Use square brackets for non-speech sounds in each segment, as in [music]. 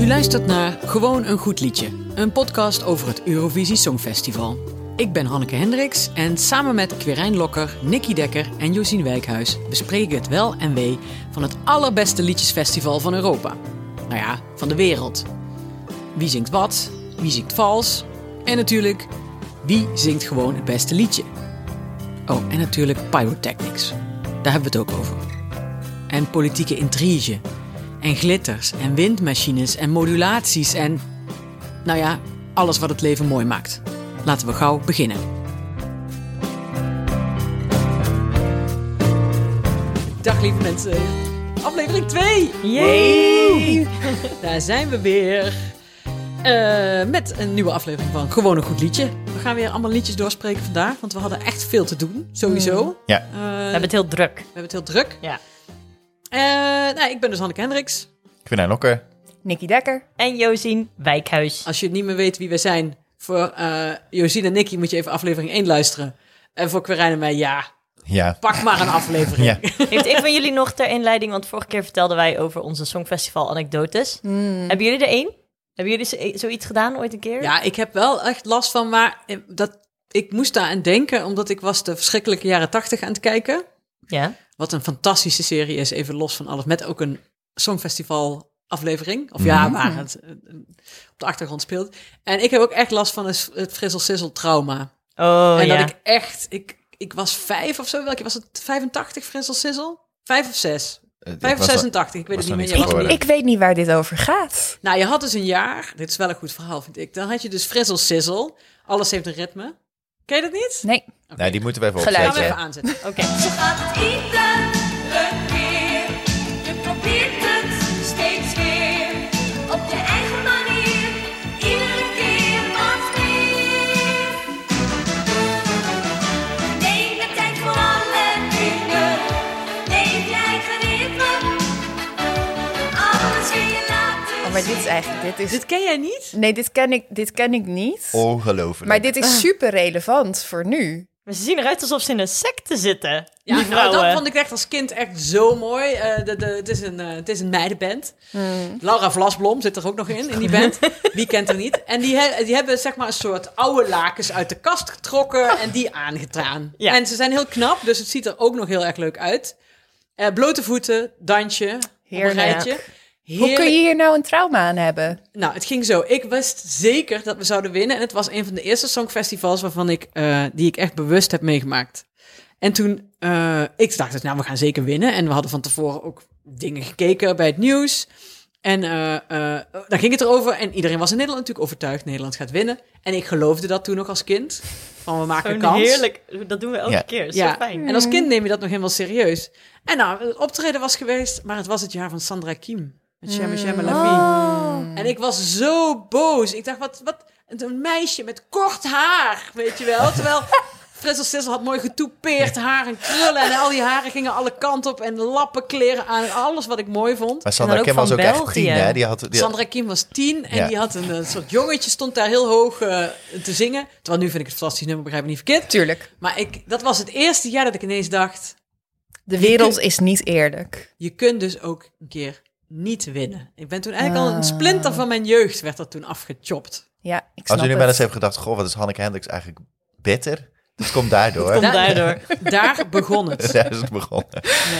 U luistert naar Gewoon een goed liedje, een podcast over het Eurovisie Songfestival. Ik ben Hanneke Hendricks en samen met Quirijn Lokker, Nicky Dekker en Josien Wijkhuis bespreken het wel en wee van het allerbeste liedjesfestival van Europa. Nou ja, van de wereld. Wie zingt wat? Wie zingt vals? En natuurlijk, wie zingt gewoon het beste liedje? Oh, en natuurlijk pyrotechnics. Daar hebben we het ook over. En politieke intrige. En glitters en windmachines en modulaties en... Nou ja, alles wat het leven mooi maakt. Laten we gauw beginnen. Dag lieve mensen. Aflevering 2. Yay! [laughs] Daar zijn we weer. Eh, met een nieuwe aflevering van Gewoon een goed liedje. We gaan weer allemaal liedjes doorspreken vandaag, want we hadden echt veel te doen, sowieso. Ja. Eh, we, We hebben hebben het heel druk. het heel druk. Ja. Eh, nou, ik ben dus Hanneke Hendricks. Quirijn Lokker. Nicky Dekker. En Josien [laughs] Wijkhuis. Als je niet meer weet wie we zijn, voor eh Josien en Nicky moet je even aflevering 1 luisteren. En voor Quirijn en mij, ja, Ja. pak maar een aflevering. Ja. Heeft een van jullie nog ter inleiding, want vorige keer vertelden wij over onze Songfestival anekdotes. Hmm. Hebben jullie er één? Hebben jullie z- zoiets gedaan ooit een keer? Ja, ik heb wel echt last van, maar eh, dat, ik moest daar aan denken, omdat ik was de verschrikkelijke jaren 80 aan het kijken. Ja. Wat een fantastische serie is, even los van alles. Met ook een songfestival aflevering. Of ja, waar het eh, op de achtergrond speelt. En ik heb ook echt last van het het frissel sissel trauma. Oh en ja. dat ik echt, ik, ik was vijf of zo, welke was het? 85 frissel sissel? Vijf of zes? Vijf of 86, ik weet was het niet meer. nog niet Ja, was geboren. het niet. Ik weet niet waar dit over gaat. Nou, je had dus een jaar, dit is wel een goed verhaal vind ik. Dan had je dus frissel sissel, alles heeft een ritme. Ken je dat niet? Nee. Nee, die moeten we even Gaan Geluid, we opzetten. even aanzetten. Oké. Zo gaat het iedere keer. Je probeert het steeds weer. Op je eigen manier. Iedere keer wat meer. Neem de tijd voor alle dingen. Neem je eigen ritme. Alles wil je laten Oh, maar dit is eigenlijk, dit is... Dit ken jij niet? Nee, dit ken ik, dit ken ik niet. Oh. Ongelooflijk. Maar dit is super relevant voor nu. Maar ze zien eruit alsof ze in een secte zitten. Ja, die nou, vrouwen. dat vond ik echt als kind echt zo mooi. Eh, de, de, het, is een, eh, het is een meidenband. Hmm. Laura Vlasblom zit er ook nog in, in die [laughs] band. Wie kent er niet? En die, he- die hebben zeg maar een soort oude lakens uit de kast getrokken en die aangetraan. Ja. En ze zijn heel knap, dus het ziet er ook nog heel erg leuk uit. Eh, blote voeten, dansje, Heerlijk. op een rijtje. Hoe kun je hier nou een trauma aan hebben? Nou, het ging zo. Ik wist zeker dat we zouden winnen. En het was een van de eerste songfestivals waarvan ik, eh, die ik echt bewust heb meegemaakt. En toen, eh, ik dacht, dus, nou, we gaan zeker winnen. En we hadden van tevoren ook dingen gekeken bij het nieuws. En eh, eh, daar ging het erover. En iedereen was in Nederland natuurlijk overtuigd, Nederland gaat winnen. En ik geloofde dat toen nog als kind. Van, we maken Gewoon kans. heerlijk. Dat doen we elke Ja. keer. Zo Ja, fijn. en als kind neem je dat nog helemaal serieus. En nou, het optreden was geweest, maar het was het jaar van Sandra Kiem. Met Shemme Shemme La Vie. En ik was zo boos. Ik dacht, wat, wat een meisje met kort haar, weet je wel. Terwijl Frissel Sissel had mooi getoupeerd haar en krullen. En al die haren gingen alle kanten op en lappen, kleren aan. Alles wat ik mooi vond. Maar En Sandra dan Kim ook was ook van echt België. tien, hè? Die had, die Sandra Kim was tien en Ja. die had een, eh, soort jongetje, stond daar heel hoog eh, te zingen. Terwijl nu vind ik het een fantastisch nummer, begrijp me niet verkeerd. Tuurlijk. Maar ik, dat was het eerste jaar dat ik ineens dacht... De wereld is niet eerlijk. Je kunt dus ook een keer niet winnen. Ik ben toen eigenlijk Ah. al een splinter van mijn jeugd werd dat toen afgechopt. Ja, ik snap Als jullie wel het. eens hebben gedacht, goh, wat is Hanneke Hendricks eigenlijk bitter? Dat komt daardoor. Komt [laughs] Nou, daardoor. Daar begon het. Daar is het begonnen. Ja,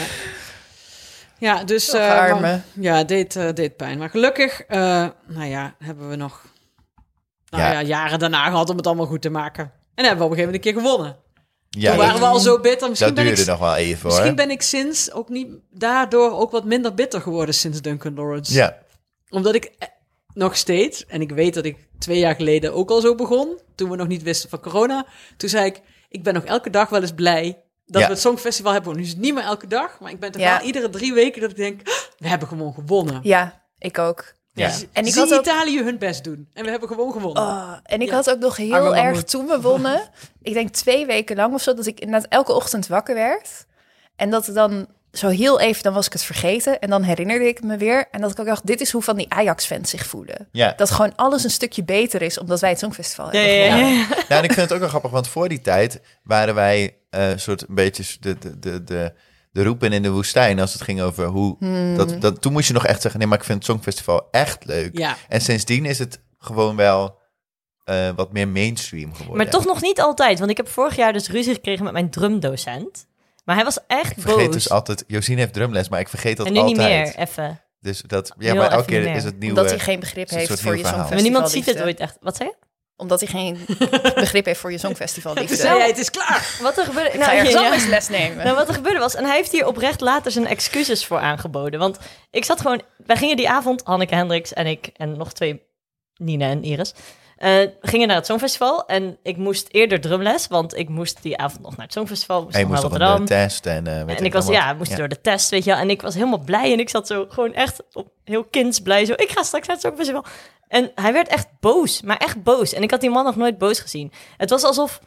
ja dus... Toch, eh, maar- arme. ja, deed, eh, deed pijn. Maar gelukkig, eh, nou ja, hebben we nog nou ja. Ja. jaren daarna gehad om het allemaal goed te maken. En hebben we op een gegeven moment een keer gewonnen. Ja, toen waren dat, we al zo bitter. Misschien, dat ben duurde ik, nog wel even, hoor. misschien ben ik sinds ook niet daardoor ook wat minder bitter geworden sinds Duncan Lawrence. Ja. Omdat ik eh, nog steeds, en ik weet dat ik twee jaar geleden ook al zo begon, toen we nog niet wisten van corona, toen zei ik, ik ben nog elke dag wel eens blij dat Ja. we het Songfestival hebben. Nu is het niet meer elke dag, maar ik ben toch Ja. wel iedere drie weken dat ik denk, "Ah, we hebben gewoon gewonnen. Ja, ik ook. Ja. En ik Zie had ook... Italië hun best doen. En we hebben gewoon gewonnen. Oh, en ik Ja. had ook nog heel Arme erg mammoet. toen we wonnen. [laughs] ik denk twee weken lang of zo, dat ik inderdaad elke ochtend wakker werd. En dat het dan zo heel even, dan was ik het vergeten. En dan herinnerde ik me weer. En dat ik ook dacht, dit is hoe van die Ajax-fans zich voelen. Ja. Dat gewoon alles een stukje beter is, omdat wij het Songfestival Ja, hebben. ja, ja. Nou, en ik vind het ook wel grappig, want voor die tijd waren wij eh, een soort een beetje de, de, de, de, de roepen in de woestijn. Als het ging over hoe... Dat, dat, toen moest je nog echt zeggen, nee, maar ik vind het Songfestival echt leuk. Ja. En sindsdien is het gewoon wel eh, wat meer mainstream geworden. Maar toch nog niet altijd, want ik heb vorig jaar dus ruzie gekregen met mijn drumdocent. Maar hij was echt Ik vergeet boos. dus altijd... Josine heeft drumles, maar ik vergeet dat en nu altijd. niet meer, even. Dus dat... Ja, Heel maar elke even niet keer meer. is het nieuw. Omdat hij geen het begrip is een heeft soort voor je nieuw verhaal. Maar songfestival. niemand ziet het ooit echt. Wat zei je? Omdat hij [laughs] geen begrip heeft voor je songfestival Zei liefde. hij, het is klaar. Wat er gebeurde... Ik ga ergens Nou, ja. anders les nemen. Nou, wat er gebeurde was, en hij heeft hier oprecht later zijn excuses voor aangeboden. Want ik zat gewoon, wij gingen die avond, Hanneke Hendricks en ik en nog twee, Nina en Iris, eh, gingen naar het Songfestival. En ik moest eerder drumles, want ik moest die avond nog naar het Songfestival. Moest Hij nog moest naar nog een Rotterdam. test en eh, weet En ik was, nog wat. ja, moest door de test, weet je wel. En ik was helemaal blij en ik zat zo gewoon echt op, heel kindsblij. Zo, ik ga straks naar het Songfestival. En hij werd echt boos, maar echt boos. En ik had die man nog nooit boos gezien. Het was alsof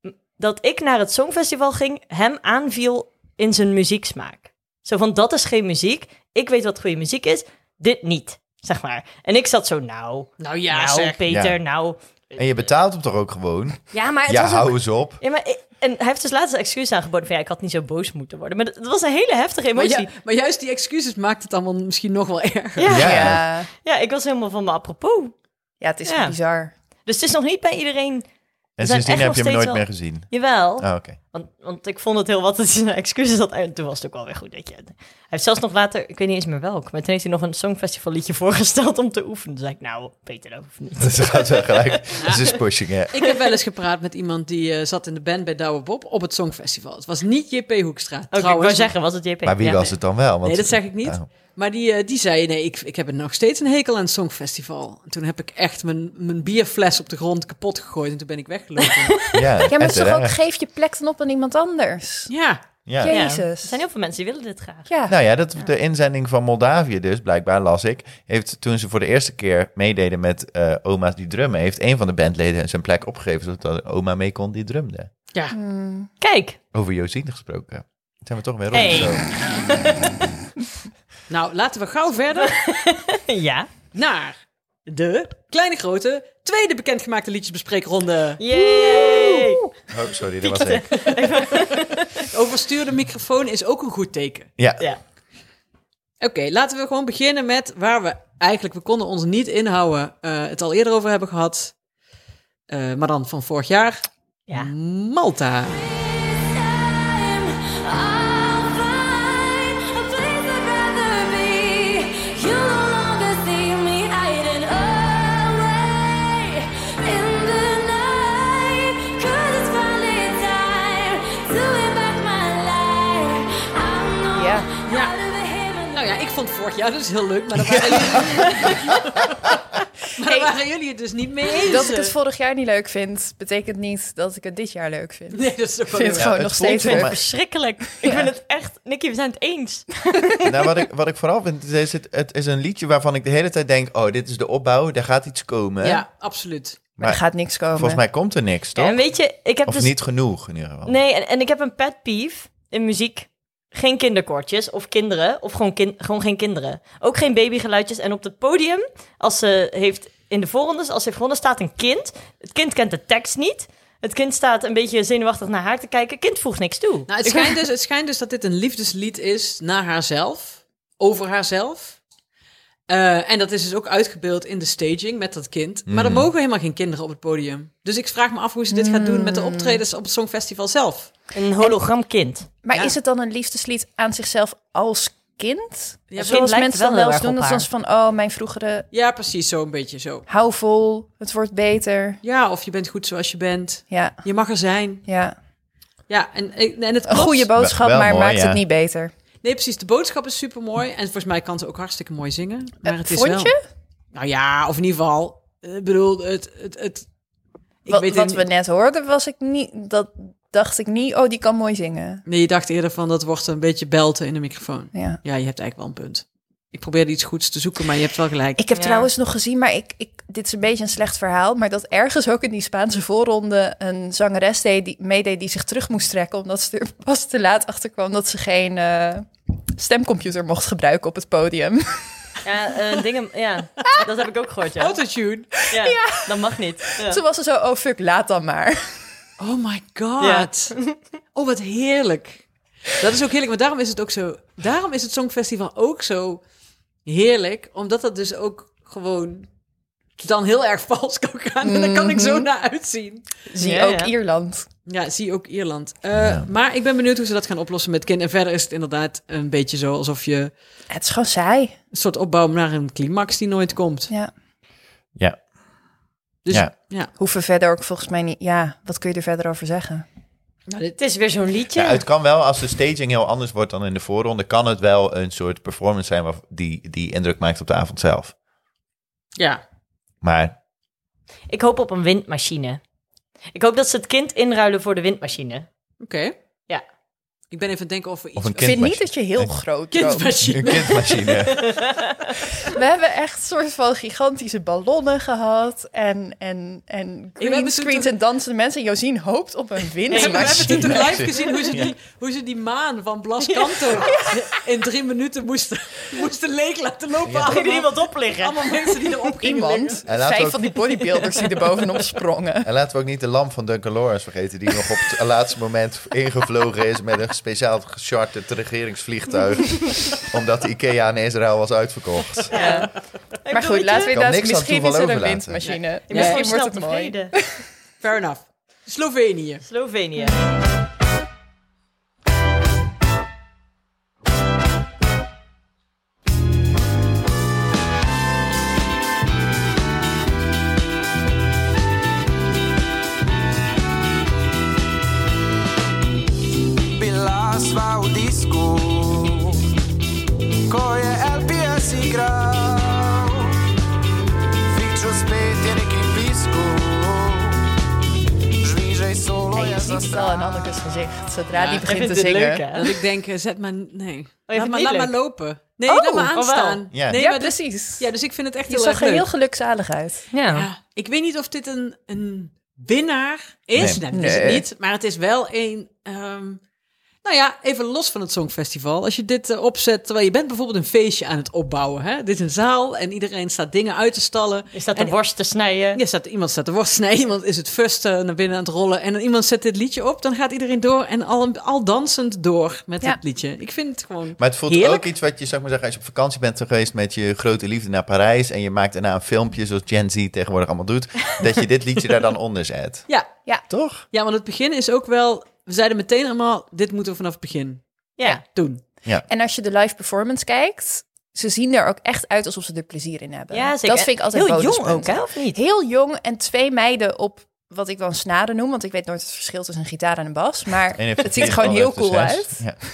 m, dat ik naar het Songfestival ging, hem aanviel in zijn muzieksmaak. Zo van, dat is geen muziek. Ik weet wat goede muziek is, dit niet, zeg maar. En ik zat zo, nou, Nou ja, nou, zeg. Peter, Ja. nou. En je betaalt hem toch ook gewoon? Ja, maar het ja, was ook- hou eens op. Ja, maar ik- en hij heeft dus laatst een excuus aangeboden van, ja, ik had niet zo boos moeten worden. Maar dat, dat was een hele heftige Maar, emotie. ju- maar juist die excuses maakt het allemaal misschien nog wel [laughs] erger. Ja. Ja. Ja. Ja, ik was helemaal van me apropos. ja het is Ja. bizar. Dus het is nog niet bij iedereen. En zijn sindsdien echt heb je hem nog nooit steeds meer gezien. Jawel. Ah, oké. [laughs] Want, want ik vond het heel wat dat hij zijn excuses had. En toen was het ook wel weer goed, weet je. Hij heeft zelfs nog later, ik weet niet eens meer welk, maar toen heeft hij nog een songfestival liedje [laughs] voorgesteld om te oefenen. Toen zei ik, nou, Peter, dat hoeft niet. Dus ze gaat wel [laughs] gelijk. Ze is dus pushing, hè. Ik heb wel eens gepraat met iemand die eh, zat in de band bij Douwe Bob op het Songfestival. Het was niet JP Hoekstra, Oké, ik trouwens. wou zeggen, was het JP? Maar wie Ja. was het dan wel? Want, Nee, dat zeg ik niet. Oh. Maar die, eh, die zei, nee, ik, ik heb nog steeds een hekel aan het Songfestival. En toen heb ik echt mijn, mijn bierfles op de grond kapot gegooid en toen ben ik weggelopen. Ja, Ja, maar en het is toch ook, terecht. geef je plek dan op aan iemand anders. ja, Ja. Jezus. Er zijn heel veel mensen die willen dit graag. Ja, Nou ja, dat, de inzending van Moldavië dus, blijkbaar las ik, heeft toen ze voor de eerste keer meededen met eh, oma's die drummen, heeft een van de bandleden zijn plek opgegeven zodat er oma mee kon die drumde. ja. Kijk, Over Josine gesproken. Zijn we toch weer rond? Hey. zo. Nou, laten we gauw verder [laughs] ja. naar de kleine grote tweede bekendgemaakte liedjesbespreekronde. Yay! Oh, [laughs] sorry, dat was ik. Overstuurde microfoon is ook een goed teken. Ja. Ja. Oké, laten we gewoon beginnen met waar we eigenlijk, we konden ons niet inhouden, eh, het al eerder over hebben gehad, Eh, maar dan van vorig jaar. Ja. Malta. Ja. Ja. Nou ja, ik vond vorig jaar dus heel leuk, maar daar waren, jullie... [laughs] maar daar waren jullie het dus niet mee eens. Dat ik eh, het vorig jaar niet leuk vind, betekent niet dat ik het dit jaar leuk vind. [laughs] Nee, dat is ook wel Ik vind weer het gewoon het nog voelt steeds voor leuk. mij- Verschrikkelijk. Ik vind het echt, Nicky, we zijn het eens. [laughs] Nou, wat ik, wat ik vooral vind, is het, het is een liedje waarvan ik de hele tijd denk, oh, dit is de opbouw, daar gaat iets komen. waar. Ja, absoluut. Maar er gaat niks komen. Volgens mij komt er niks, toch? En weet je, ik heb Of dus niet genoeg in ieder geval. Nee, en, en ik heb een pet peeve in muziek. Geen kinderkoortjes of kinderen, of gewoon, kin- gewoon geen kinderen. Ook geen babygeluidjes. En op het podium, als ze heeft in de voorrondes, als ze heeft gewonnen, staat een kind. Het kind kent de tekst niet. Het kind staat een beetje zenuwachtig naar haar te kijken. kind voegt niks toe. Nou, het [laughs] schijnt, dus, het schijnt dus dat dit een liefdeslied is naar haarzelf, over haarzelf. Eh, en dat is dus ook uitgebeeld in de staging met dat kind. Maar er mogen helemaal geen kinderen op het podium. Dus ik vraag me af hoe ze dit gaat doen met Mm. de optredens op het Songfestival zelf. Een hologram kind. Maar Ja. is het dan een liefdeslied aan zichzelf als kind? Ja, Zoals lijkt mensen wel dan wel heel eens erg doen, op dat ze dan haar. van... oh, mijn vroegere, Ja, precies, zo een beetje zo. hou vol, het wordt beter. Ja, of je bent goed zoals je bent. Ja, Je mag er zijn. ja. Ja, en, en het Een klopt. goede boodschap, Wel maar mooi, maakt ja. het niet beter. Nee, precies. De boodschap is super mooi. En volgens mij kan ze ook hartstikke mooi zingen. Maar Eh, het is vond wel. je? Nou ja, of in ieder geval. eh, Ik bedoel, het. het, het ik wat weet wat het we niet. net hoorden, was ik niet, dat dacht ik niet... oh, die kan mooi zingen. Nee, je dacht eerder van dat wordt een beetje belten in de microfoon. Ja. Ja, je hebt eigenlijk wel een punt. Ik probeerde iets goeds te zoeken, maar je hebt wel gelijk. Ik heb Ja. trouwens nog gezien, maar ik, ik, dit is een beetje een slecht verhaal... maar dat ergens ook in die Spaanse voorronde een zangeres deed, die, meedeed... die zich terug moest trekken, omdat ze er pas te laat achter kwam... dat ze geen eh, stemcomputer mocht gebruiken op het podium. Ja, eh, dingen, [laughs] ja, dat heb ik ook gehoord, ja. Autotune. ja, Dat mag niet. Ja. Toen was ze zo, oh fuck, laat dan maar. Oh my god. Oh, wat heerlijk. Dat is ook heerlijk, maar daarom is het ook zo. Daarom is het Songfestival ook zo heerlijk, omdat dat dus ook gewoon dan heel erg [laughs] vals kan gaan. En daar kan ik Mhm. zo naar uitzien. Zie Ja, ook ja. Ierland. Ja, zie ook Ierland. Eh, Ja. Maar ik ben benieuwd hoe ze dat gaan oplossen met kind. En verder is het inderdaad een beetje zo alsof je een Het is gewoon saai. soort opbouw naar een climax die nooit komt. Ja. Ja. Dus ja, Ja. Hoeven verder ook volgens mij niet. Ja, wat kun je er verder over zeggen? Nou, dit is weer zo'n liedje. Ja, het kan wel, als de staging heel anders wordt dan in de voorronde, kan het wel een soort performance zijn waar- die, die indruk maakt op de avond zelf. ja. Maar Ik hoop op een windmachine. Ik hoop dat ze het kind inruilen voor de windmachine. oké. Ja. Ik ben even aan het denken of we iets... of een Ik vind niet kindmachine. dat je heel groot droomt. Een Kindmachine. [laughs] kindmachine. We hebben echt soort van gigantische ballonnen gehad. En, en, en we hebben green toen screens toch- en dansende mensen. Josien hoopt op een Nee, maar we hebben windmachine. toen toch live gezien hoe ze, die, hoe ze die maan van Blas Kanto in drie minuten moesten, moesten leeg laten lopen. Ging er Allemaal, iemand op liggen? allemaal mensen die erop gingen Iemand, En laten we vijf ook- van die bodybuilders die er bovenop sprongen. En laten we ook niet de lamp van Duncan Lawrence vergeten, die nog op het [laughs] laatste moment ingevlogen is met een speciaal gecharterd [laughs] regeringsvliegtuig. omdat de IKEA in Israël was uitverkocht. Ja. Maar goed, laten we kan inderdaad... niks aan Misschien is toeval er een overlaten. windmachine. Ik ben Misschien gewoon snel wordt het mooi. tevreden. Fair enough. Slovenië. [laughs] Slovenië. bila sva u disku Koje LPS igrao Fiču spet je neki pisku Žvižej solo Ja, je je ziet het al in zastran Anneke's gezicht zodra die Jij begint vindt te dit zingen. leuk, hè? Dat [laughs] ik denk, eh, zet maar... Nee. het Laat maar, niet laat leuk? maar lopen. Nee, Oh, laat maar oh, wel. aanstaan. Ja. Nee, ja, maar dit- precies. ja, dus ik vind het echt je heel erg zag er leuk. heel gelukzalig uit. Ja. Ja, ik weet niet of dit een, een winnaar is. Nee. Nee, dat is het Nee. niet. Maar het is wel een... ehm, nou ja, even los van het Songfestival. Als je dit eh, opzet, terwijl je bent bijvoorbeeld een feestje aan het opbouwen. Hè? Dit is een zaal en iedereen staat dingen uit te stallen. [laughs] Is dat En- een worst te snijden? Ja, staat, iemand staat te worstelen, iemand is het fusten naar binnen aan het rollen. En dan iemand zet dit liedje op, dan gaat iedereen door en al, al dansend door met Ja. het liedje. Ik vind het gewoon... Maar het voelt Heerlijk. ook iets wat je, zou ik maar zeggen, als je op vakantie bent geweest met je grote liefde naar Parijs en je maakt daarna een filmpje zoals Gen Z tegenwoordig allemaal doet, dat je dit liedje daar dan onder zet. Ja, Toch? ja, want het begin is ook wel... We zeiden meteen allemaal, dit moeten we vanaf het begin Ja. doen. En als je de live performance kijkt, ze zien er ook echt uit alsof ze er plezier in hebben. Ja, zeker. Dat vind ik altijd Heel jong ook, bonuspunten. hè? Of niet? Heel jong en twee meiden op wat ik dan snaren noem, want ik weet nooit het verschil tussen een gitaar en een bas, [laughs] maar Eén heeft het een ziet er gewoon vier, heel de ander cool heeft een uit. zes.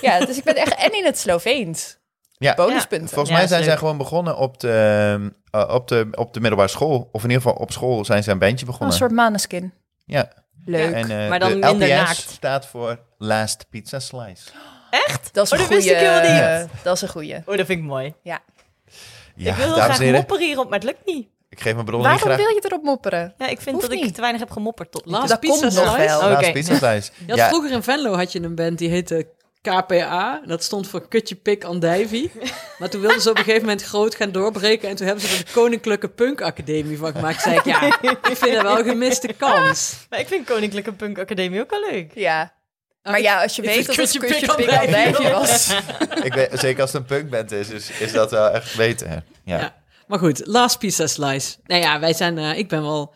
Ja, dus ik ben echt en in het Sloveens. Ja. ja. Bonuspunten. Volgens Ja, mij is zijn leuk. zij gewoon begonnen op de, eh, op, de, op de middelbare school. Of in ieder geval op school zijn ze een bandje Een begonnen. soort maneskin. Ja. Leuk. En eh, Maar dan de minder LPS naakt. staat voor Last Pizza Slice. Echt? Dat is Oh, een dat wist ik goeie- helemaal niet. Dat is een goeie. Oh, dat vind ik mooi. Ja, ik wil heel dames graag en heren, mopperen hierop, maar het lukt niet. ik geef mijn bron niet Waarom graag. wil je erop mopperen? Ja, ik vind Hoeft dat ik niet. te weinig heb gemopperd tot nu toe. Last Dat Pizza komt nog Slice. wel. Oh, Last Oké. Pizza Slice. [laughs] Je had Vroeger in Venlo had je een band die heette KPA. Dat stond voor Kutje Pik Andijvie. Maar toen wilden ze op een gegeven moment groot gaan doorbreken. En toen hebben ze er de Koninklijke Punk Academie van gemaakt. Zei ik, ja, ik vind dat wel een gemiste kans. Maar ik vind Koninklijke Punk Academie ook wel leuk. Ja. Maar ja, als je ik weet vind dat het kutje pik kusje pik al al dijfje was. ik weet, zeker als het een punkband is, is, is dat wel echt beter. Ja. Ja. Maar goed, Last Pizza Slice. Nou ja, wij zijn, eh, ik ben wel,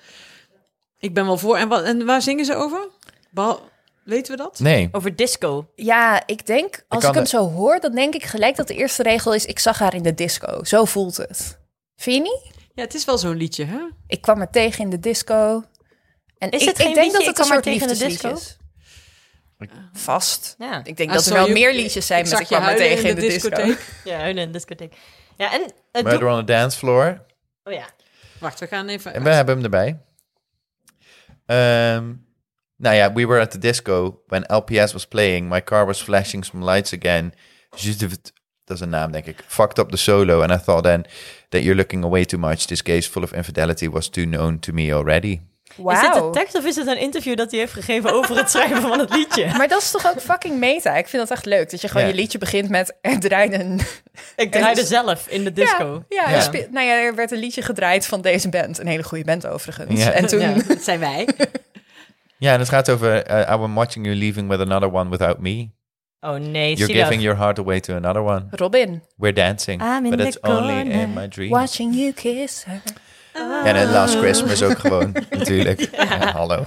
ik ben wel voor. En, wat, en waar zingen ze over? Behal- weten we dat? Nee. Over disco. Ja, ik denk, als ik, kan hem de- zo hoor, dan denk ik gelijk dat de eerste regel is... ik zag haar in de disco. Zo voelt het. Vind je niet? Ja, het is wel zo'n liedje, hè? Ik kwam haar tegen in de disco. En Is ik, het ik geen liedje, denk dat Ik het een kwam haar soort tegen in de liefdesliedje is. Vast. Ja, Ik denk Ah, dat er sorry, wel ik- meer liedjes zijn ik met zag ik je kwam haar huilen tegen in de disco. ja huilen in de discotheek. Ja, en... het doel- Murder on the Dance Floor. Oh ja. Wacht, we gaan En even... we hebben hem erbij. Ehm, nou ja, we were at the disco when LPS was playing. My car was flashing some lights again. Je- Dat is een naam, denk ik. Fucked up the solo and I thought then that you're looking away too much. This gaze full of infidelity was too known to me already. Is dit een Wauw. tekst of is het een interview dat hij heeft gegeven over het schrijven van het liedje? [laughs] Maar dat is toch ook fucking meta? Ik vind dat echt leuk. Dat je gewoon Ja. je liedje begint met... [laughs] Er draaide [laughs] een... Ik draaide zelf in de disco. Ja, ja, Ja. er speel- nou ja, er werd een liedje gedraaid van deze band. Een hele goede band overigens. Ja. En toen... Ja, dat zijn wij. Ja, en het gaat over... eh, I'm watching you leaving with another one without me. Oh nee, You're zielig. giving your heart away to another one. Robin. We're dancing. I'm in but the it's only corner. in my dreams. Watching you kiss her. En Ah. eh, Last Christmas ook gewoon, natuurlijk. Ja, hallo.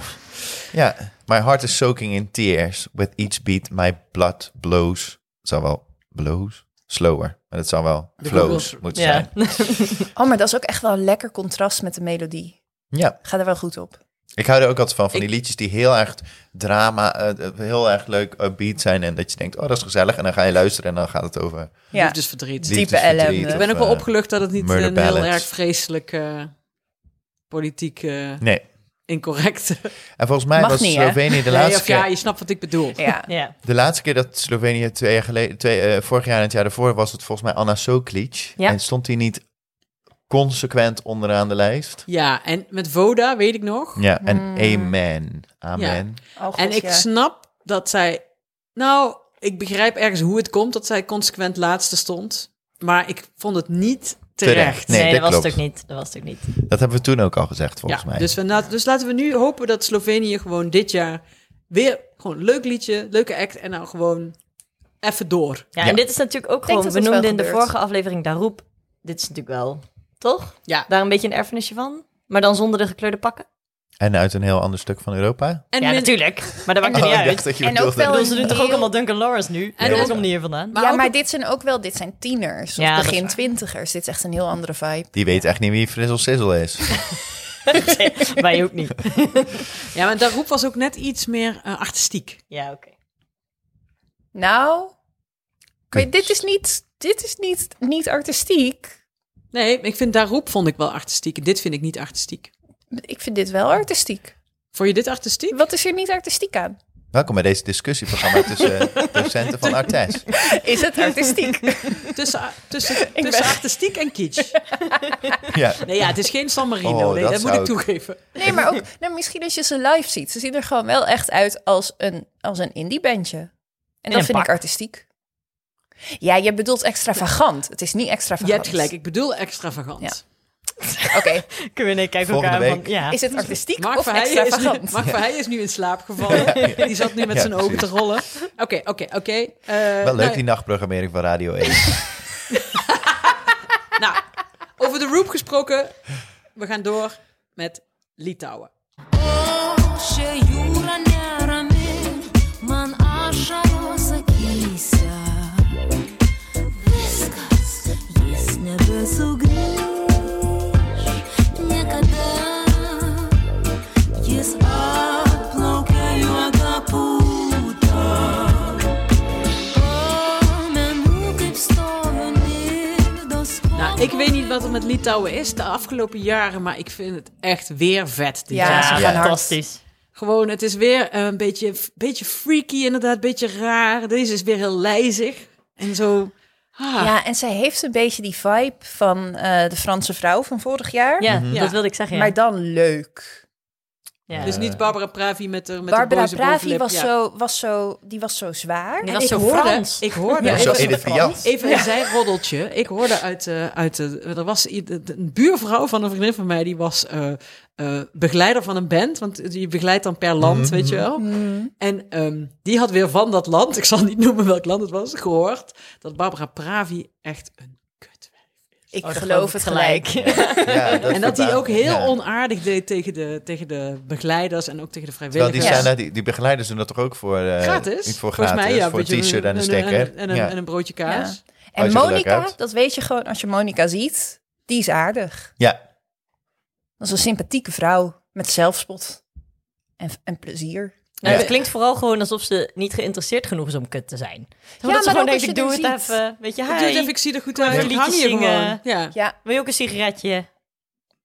Ja, my heart is soaking in tears. With each beat my blood blows. Het zal wel blows? Slower. Maar het zal wel flows Googles. moeten Ja. zijn. Oh, maar dat is ook echt wel een lekker contrast met de melodie. Ja, Ga er wel goed op. ik hou er ook altijd van. Van die liedjes die heel erg drama, eh, eh, heel erg leuk upbeat zijn. En dat je denkt, oh dat is gezellig. En dan ga je luisteren en dan gaat het over... Ja. Liefdesverdriet. Type liefdesverdriet ellende. of, Ik Ik ben ook wel eh, opgelucht dat het niet murder een heel ballads. erg vreselijk eh, politiek eh, Nee. incorrect... En volgens mij Mag was niet, hè? Slovenië [laughs] de Nee, laatste of ja, keer... je snapt wat ik bedoel. [laughs] Ja. Ja. De laatste keer dat Slovenië twee jaar geleden, twee, eh, vorig jaar en het jaar daarvoor was het volgens mij Anna Soklic. Ja. En stond hij niet consequent onderaan de lijst? Ja, en met Voda weet ik nog. Ja, en amen. Amen. Oh, God, en ik ja. snap dat zij... Nou, ik begrijp ergens hoe het komt dat zij consequent laatste stond. Maar ik vond het niet terecht. Terecht, Nee, Nee, dat dat was het ook klopt. niet. Dat was het ook niet. Dat hebben we toen ook al gezegd, volgens ja, mij. Dus, we na- dus laten we nu hopen dat Slovenië gewoon dit jaar... weer gewoon een leuk liedje, leuke act en nou gewoon even door. Ja, Ja. en dit is natuurlijk ook denk gewoon... dat We het wel noemden in de gebeurt. vorige aflevering Daroep. Dit is natuurlijk wel, toch? Ja. Daar een beetje een erfenisje van. Maar dan zonder de gekleurde pakken? En uit een heel ander stuk van Europa. En ja, dus- min- natuurlijk. Maar dat maakt er Oh, niet ik uit. dacht dat je En ook bedoelde- wel- Bedoel, ze doen toch ook allemaal Duncan Lawrence nu? En ook- dat komt niet hier vandaan. Maar ja, ook- maar dit zijn ook wel, dit zijn tieners. Of Ja, dat is begin waar. twintigers. Dit is echt een heel andere vibe. Die weet echt niet wie Frizzle Sizzle is. Wij ook niet. Ja, maar Daroep was ook net iets meer eh, artistiek. Ja, oké. Nou, ik weet, dit is niet, dit is niet, niet artistiek. Nee, ik vind Daroep vond ik wel artistiek. En dit vind ik niet artistiek. Ik vind dit wel artistiek. Vond je dit artistiek? Wat is er niet artistiek aan? Welkom bij deze discussieprogramma tussen eh, docenten van Artes. Is het artistiek? [laughs] Tussen, tussen, tussen artistiek en [laughs] kitsch. Ja. Nee, ja, het is geen San Marino. Oh, nee, dat, dat moet zou ik ik- toegeven. [laughs] Nee, maar ook nou, misschien als je ze live ziet. Ze zien er gewoon wel echt uit als een, als een indie bandje. En dat een vind pak. ik artistiek. Ja, je bedoelt extravagant. Het is niet Je extravagant. hebt gelijk, ik bedoel extravagant. [laughs] Oké, Kunnen we nee, kijken Volgende elkaar week. van... Ja. is het artistiek Mark, of Verheijen is, nu- extravagant? Mark Verheijen is nu in slaap gevallen. Die zat nu met [laughs] Ja, zijn ogen te precies. rollen. Oké, oké, oké. Eh, Wel leuk, nou, die nachtprogrammering van Radio 1. nou, over de Roep gesproken. We gaan door met Litouwen. Še jūra nerami, man ašaros akyse. Viskas, jis nebesugrįš niekada. Jis atplaukia juoda pūta. Pamenu, kaip stoviu nirdos Nou, ik weet niet wat er met Litouwen is de afgelopen jaren, maar ik vind het echt weer vet. Dit Ja, jaar. ze Ja, gaan hard. fantastisch. Gewoon, het is weer eh, een beetje, beetje freaky inderdaad, een beetje raar. Deze is weer heel lijzig en zo. Ah, Ja, en zij heeft een beetje die vibe van eh, de Franse vrouw van vorig jaar. Ja, Mhm. Ja. dat wilde ik zeggen. Ja. Maar dan leuk. ja. Oh, Dus niet Barbara Pravi met haar met de Barbara boze Pravi bovenlip, was, ja. zo, was, zo, die was zo zwaar. Die En was ik zo hoorde- Frans. Ik hoorde Zo even, Edith Piaf. even een zijroddeltje. Ik hoorde uit, eh, uit de, er was i- de- de- een buurvrouw van een vriendin van mij die was eh, eh, begeleider van een band, want je begeleidt dan per land, weet je wel. Mhm. En ehm, die had weer van dat land, [laughs] ik zal niet noemen welk land het was, gehoord dat Barbara Pravi echt een kut Ik Oh, dat geloof het gelijk. Ja, En dat die verbaast- ook heel ja. onaardig deed tegen de, tegen de begeleiders en ook tegen de Terwijl die, vrijwilligers. zijn, daar- die, die begeleiders doen dat toch ook voor eh, Gratis? Voor gratis, ja, voor een beetje t-shirt en een En, stekker. en een, Ja. en een broodje Ja. kaas. En Als je er leuk Monica, uit. dat weet je gewoon als je Monica ziet. Die is aardig. ja, Dat is een sympathieke vrouw met zelfspot en, en plezier. Nou, het Ja. klinkt vooral gewoon alsof ze niet geïnteresseerd genoeg is om kut te zijn. Ja, maar dat ze gewoon ook denkt, als ik je doe het er ziet. even. Weet je, Ik doe het hi. even, ik zie er goed uit. Even Ik hang liedjes hier gewoon. zingen. Ja. Ja, Wil je ook een sigaretje?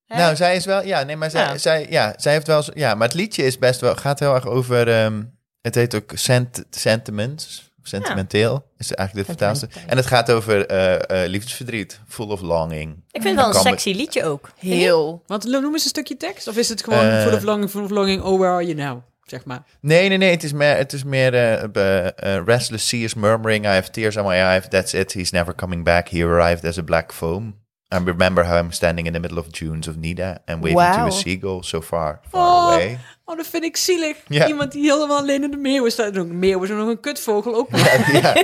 Hè? Nou, zij is wel, ja, nee, maar zij, Ja. zij, ja, zij heeft wel, zo- ja, maar het liedje is best wel, gaat heel erg over, ehm, het heet ook sent, sentiments, sentimenteel, is eigenlijk de vertaalste. En het gaat over eh, eh, liefdesverdriet, full of longing. ik vind het wel een Kan me- sexy liedje ook. heel. Want noemen ze een stukje tekst? Of is het gewoon Eh. full of longing, full of longing, oh where are you now? Zeg maar. Nee, nee, nee, het is meer, het is meer eh, be- eh, restless sea is murmuring, I have tears on my eyes, that's it, he's never coming back, he arrived as a black foam. I remember how I'm standing in the middle of dunes of Nida and waving to Wauw. [laughs] a seagull so far, far away. Oh, dat vind ik zielig. Ja. Iemand die helemaal alleen in de meeuwen staat. Een meeuw is nog een kutvogel [laughs] ook. nog. ja,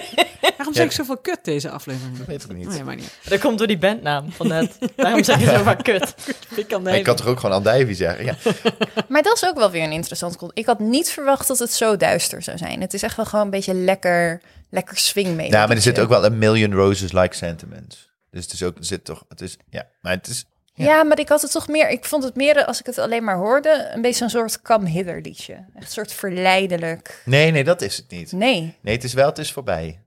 Waarom zeg ik zoveel kut deze aflevering? weet ik niet. [laughs] Nee, maar niet. Dat komt door die bandnaam van net. Daarom zeg je zo vaak kut. Ik kan de Ik kan toch ook gewoon Aldijvie zeggen? Ja. Maar dat is ook wel weer een interessant concept. Ik had niet verwacht dat het zo duister zou zijn. Het is echt wel gewoon een beetje lekker, lekker swing mee. Nou, maar er zit ook wel een million roses like sentiment. Dus het is ook, er zit toch, het is, ja, maar het is, Ja. maar ik had het toch meer. Ik vond het meer, als ik het alleen maar hoorde, een beetje zo'n soort come hither liedje. Echt een soort verleidelijk. nee, nee, dat is het niet. Nee, Nee, het is wel, het is voorbij.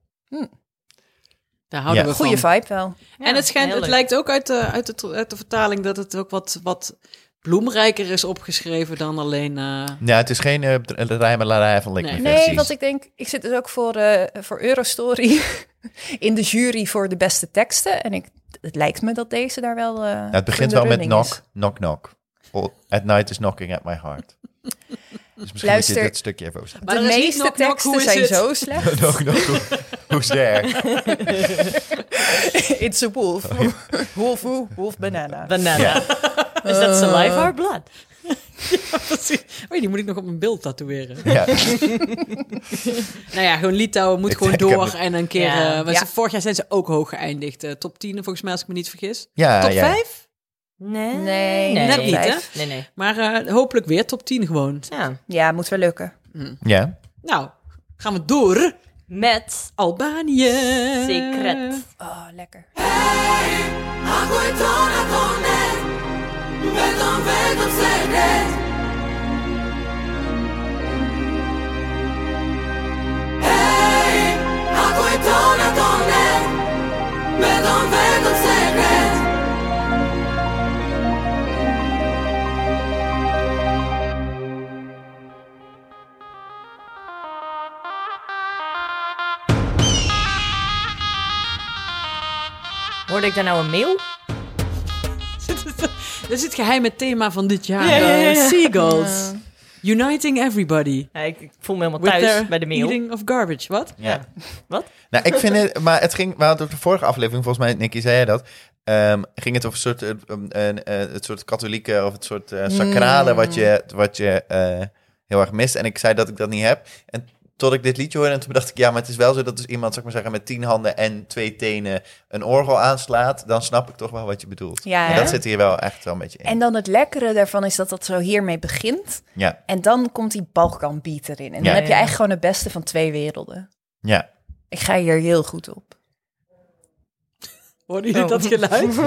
Daar houden Ja. we goede van. vibe wel. en het, schijnt, heel het leuk. lijkt ook uit de, uit, de, uit de vertaling dat het ook wat, wat bloemrijker is opgeschreven dan alleen... eh, Nou, het is geen eh, dr- rijmelarij van Lick Nee. Me Nee, versies. want ik denk, ik zit dus ook voor, eh, voor Eurostory [laughs] in de jury voor de beste teksten. En ik, het lijkt me dat deze daar wel. eh, Nou, het in begint de wel met running knock, is. knock, knock. All- at night is knocking at my heart. Dus misschien Luister. moet je dit stukje even overstaan. Maar de er is niet meeste knock, knock, teksten hoe is zijn het? zo slecht. [laughs] knock, knock, who- who's there? It's a [laughs] wolf. wolf, wolf, wolf, banana. Banana. Is dat saliva or blood? precies. oh, die moet ik nog op mijn beeld tatoeëren. Ja. [laughs] Nou ja, gewoon Litouwen moet Ik gewoon denk, ik heb door het- en een keer... Ja. eh, want Ja. ze- vorig jaar zijn ze ook hoog geëindigd. eh, top 10, volgens mij, als ik me niet vergis. Ja, top ja. 5? Nee. Nee, nee. net niet, hè? Nee, nee. Maar eh, hopelijk weer top 10 gewoon. Ja. Ja, moet wel lukken. Ja. Nou, gaan we door. Met Albanië. secret. Oh, lekker. Ako je to na vonet, vetëm, vetëm se det Hej, ako je to na vonet, vetëm, vetëm se det Hoorde ik daar nou een mail? Dat is het geheime thema van dit jaar. Ja, ja, ja, eh, ja. Seagulls. Uniting everybody. Ja, ik ik voel me helemaal With thuis their bij de mail. Eating of garbage. Wat? ja. Wat? Nou, ik vind het, maar het ging, we hadden op de vorige aflevering, volgens mij, Nicky, zei jij dat, ehm, ging het over een soort, eh, um, een, eh, het soort katholieke of het soort eh, sacrale Mm. wat je, wat je eh, heel erg mist. En ik zei dat ik dat niet heb. En tot ik dit liedje hoorde, en toen dacht ik, ja, maar het is wel zo dat dus iemand, zeg maar zeggen, met tien handen en twee tenen een orgel aanslaat, dan snap ik toch wel wat je bedoelt. Ja, en hè? dat zit hier wel echt wel een beetje in. En dan het lekkere daarvan is dat dat zo hiermee begint. Ja, En dan komt die Balkan beat erin. En Ja. dan heb je eigenlijk gewoon het beste van twee werelden. ja. Ik ga hier heel goed op. [laughs] Hoorden jullie Oh. dat geluid? [laughs]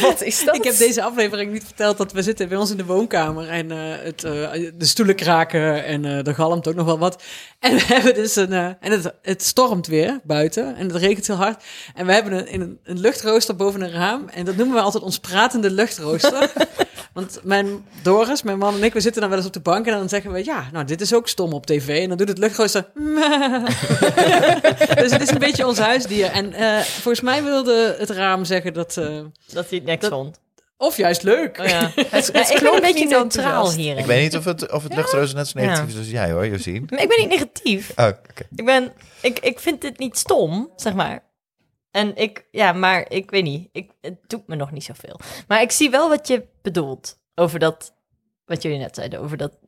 Wat is dat? Ik heb deze aflevering niet verteld dat we zitten bij ons in de woonkamer en eh, het, eh, de stoelen kraken en eh er galmt ook nog wel wat. En we [laughs] hebben dus een. eh, en het, het stormt weer buiten en het regent heel hard. En we hebben een, in een, een luchtrooster boven een raam en dat noemen we altijd ons pratende luchtrooster. Want mijn Doris, mijn man en ik, we zitten dan wel eens op de bank en dan zeggen we: Ja, nou, dit is ook stom op tv. En dan doet het luchtrooster. [laughs] dus het is een beetje ons huisdier. En eh, volgens mij wilde het raam zeggen dat. eh, Dat hij het niks Dat- vond. of juist leuk. [laughs] Oh, ja. Ja, ik ben klonk een beetje niet neutraal enthousiast. hier. Ik weet niet of het, of het luchtroos net zo negatief is als jij hoor, [laughs] Josien. Ik ben niet negatief. Oh, oké. Ik ben, ik, ik vind dit niet stom, zeg maar. En ik, ja, maar ik weet niet. Ik, het doet me nog niet zoveel. Maar ik zie wel wat je bedoelt over dat, wat jullie net zeiden, over dat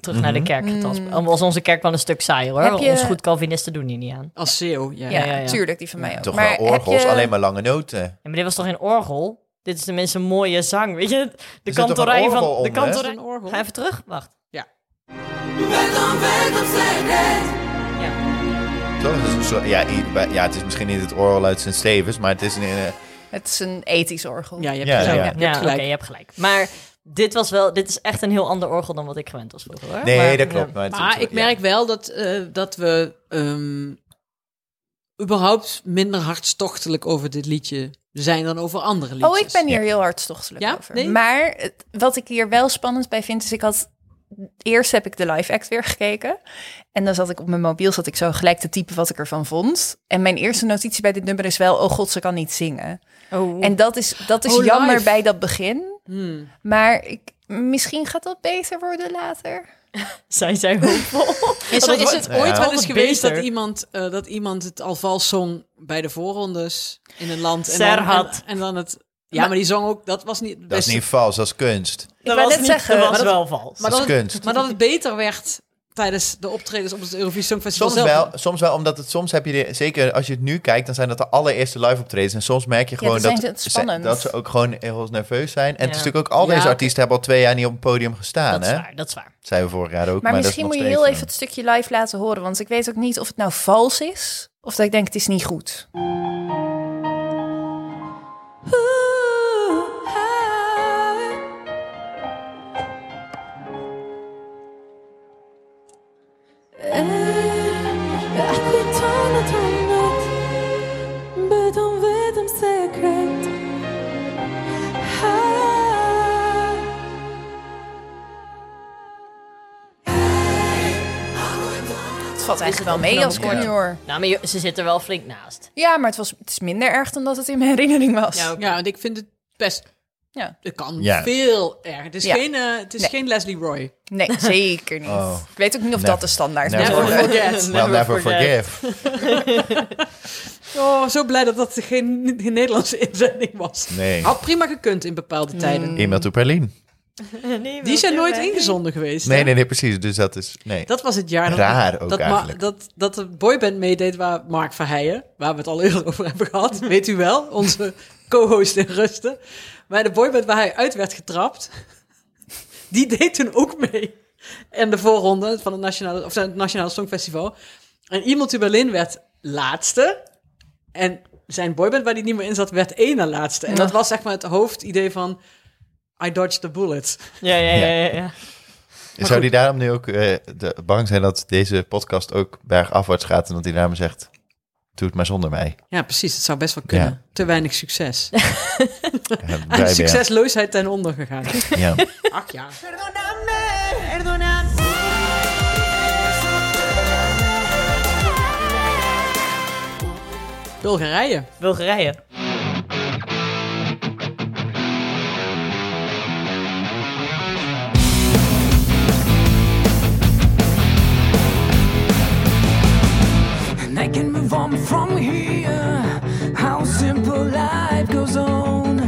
terug naar de Mhm. kerk. getransport. Mm. Al was onze kerk wel een stuk saai hoor. Heb je- Ons goed Calvinisten doen hier niet aan. Als CEO, ja. Ja, Ja, ja, ja. tuurlijk, die van mij ook. Toch maar wel orgels, heb je- alleen maar lange noten. Ja, maar dit was toch geen orgel? Dit is tenminste een mooie zang, weet je? De Er zit toch een kantorij orgel van... De onder, hè? kantorij... Is er een orgel? Ga even terug. Wacht. Vetëm, vetëm se det Toch? Het is een soort- ja, i- bij- ja, het is misschien niet het orgel uit zijn stevens, maar het is een... eh, Het is een ethisch orgel. Oh, Ja, je hebt Ja, gelijk. ja. Je Ja, hebt oké, gelijk. je hebt gelijk. Maar dit was wel... Dit is echt een heel ander orgel dan wat ik gewend was vroeger, hoor. nee, Maar- dat klopt. ja. Maar, het is- Maar ik ja. merk wel dat, eh, dat we ehm, überhaupt minder hartstochtelijk over dit liedje zijn dan over andere liedjes. Oh, ik ben hier heel hartstochtelijk Ja? over. Nee? Maar het- wat ik hier wel spannend bij vind, is ik had... Eerst heb ik de live act weer gekeken. En dan zat ik op mijn mobiel, zat ik zo gelijk te typen wat ik ervan vond. En mijn eerste notitie bij dit nummer is wel... Oh god, ze kan niet zingen. Oh. En dat is, dat is Oh, jammer live. bij dat begin. Hmm. Maar ik, misschien gaat dat beter worden later. Zijn zij [laughs] hoopvol? Is, er- is het ooit Ja. wel eens Altijd geweest dat beter. iemand, eh, dat iemand het alvast zong bij de voorrondes in een land en, dan, Serhat. en, en dan het Ja, maar die zong ook, dat was niet... Dat is niet vals, dat is kunst. Dat wou was net niet, eh, zeggen, dat maar was dat- wel vals. maar dat dat, is het- kunst. maar [laughs] dat het beter werd tijdens de optredens op het Eurovisie Songfestival Soms zelf. wel, soms wel, omdat het soms heb je, de- zeker als je het nu kijkt, dan zijn dat de allereerste live optredens. En soms merk je Ja, gewoon dan dat, zijn ze ze- spannend. dat ze ook gewoon heel nerveus zijn. En het is Ja. natuurlijk ook al Ja, deze oké. artiesten hebben al twee jaar niet op het podium gestaan. dat is Hè? waar, dat is waar. Zijn we vorig jaar ook. Maar, dat is misschien nog moet je steeds eh, heel zo. even het stukje live laten horen. Want ik weet ook niet of het nou vals is. Of dat ik denk, het is niet goed. Eh, eh, Het valt eigenlijk wel mee als ik opgenomen? het nu hoor. Nou, maar je- ze zitten er wel flink naast. Ja, maar het, was, het is minder erg dan dat het in mijn herinnering was. Ja, oké. Ja, want ik vind het best... Ja. Het kan Ja. veel erg. Het is, Ja. geen, eh, het is Nee. geen Leslie Roy. [laughs] Nee, zeker niet. Oh. Ik weet ook niet of Never. dat de standaard Never. moet Never worden. forget. Well, never Never forget. forgive. [laughs] Oh, zo blij dat dat geen, geen Nederlandse inzending was. Nee. Had prima gekund in bepaalde tijden. Iemand op Berlin. Die zijn nooit ingezonden geweest. Nee, hè? nee, nee, precies. Dus dat is. Nee. Dat was het jaar dat, Raar ook dat, Ma- eigenlijk. dat, dat de boyband meedeed waar Mark Verheijen, waar we het al eerder over hebben [laughs] gehad, weet u wel, onze co-host in rusten. Maar de boyband waar hij uit werd getrapt, die deed toen ook mee. En de voorronde van het Nationale, of het Nationale Songfestival. En iemand in Berlin werd laatste. En zijn boyband waar hij niet meer in zat, werd één na laatste. En dat was zeg maar het hoofdidee van I dodged the bullet. Ja, ja, ja. ja, ja. Zou die daarom nu ook eh, de, bang zijn dat deze podcast ook bergafwaarts gaat en dat hij daarom zegt: Doe het maar zonder mij? Ja, precies. Het zou best wel kunnen. Ja. Te weinig succes. Ja, [laughs] blij Aan ben je. succesloosheid ten onder gegaan. Ja. [laughs] Ach ja. Bulgarije. Bulgarije. And I can move on from here. How simple life goes on.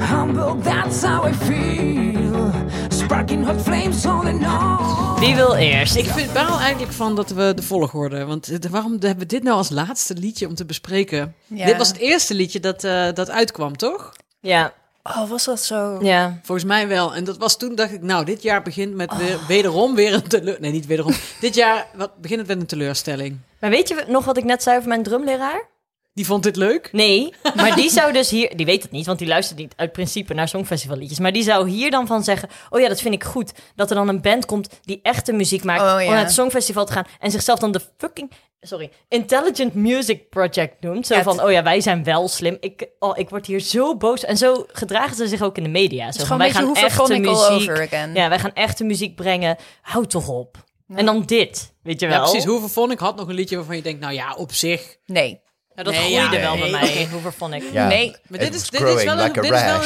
Humble, that's how I feel. Sparking hot flames on and on. Wie wil eerst? Ik vind baal eigenlijk van dat we de volgorde. Want eh, waarom hebben we dit nou als laatste liedje om te bespreken? Ja. Dit was het eerste liedje dat, eh, dat uitkwam, toch? Ja, Oh, was dat zo? ja. Volgens mij wel. En dat was toen, dacht ik, nou, dit jaar begint met weer, wederom weer een teleurstelling. Nee, niet [laughs] wederom. dit jaar wat, begint het met een teleurstelling. Maar weet je nog wat ik net zei over mijn drumleraar? Die vond dit leuk. Nee, maar die zou dus hier... Die weet het niet, want die luistert niet uit principe naar songfestivalliedjes. Maar die zou hier dan van zeggen... Oh ja, dat vind ik goed. Dat er dan een band komt die echte muziek maakt... Oh ja. om naar het songfestival te gaan. En zichzelf dan de fucking... Sorry, Intelligent Music Project noemt. Zo Ja, het- van, oh ja, wij zijn wel slim. Ik, oh, ik word hier zo boos. En zo gedragen ze zich ook in de media. Zo van, is gewoon wij een gaan beetje echte hoeveel muziek... all over again. Ja, wij gaan echte muziek brengen. Houd toch op. En dan dit, weet je wel. Ja, precies. Hoeveel vond ik? Had nog een liedje waarvan je denkt, nou ja, op zich. Nee. Ja, dat Nee, groeide ja, wel nee. bij mij. Hoeveel vond ik? Ja. Nee. Maar It dit is- was dit is wel growing een- like a dit is wel een-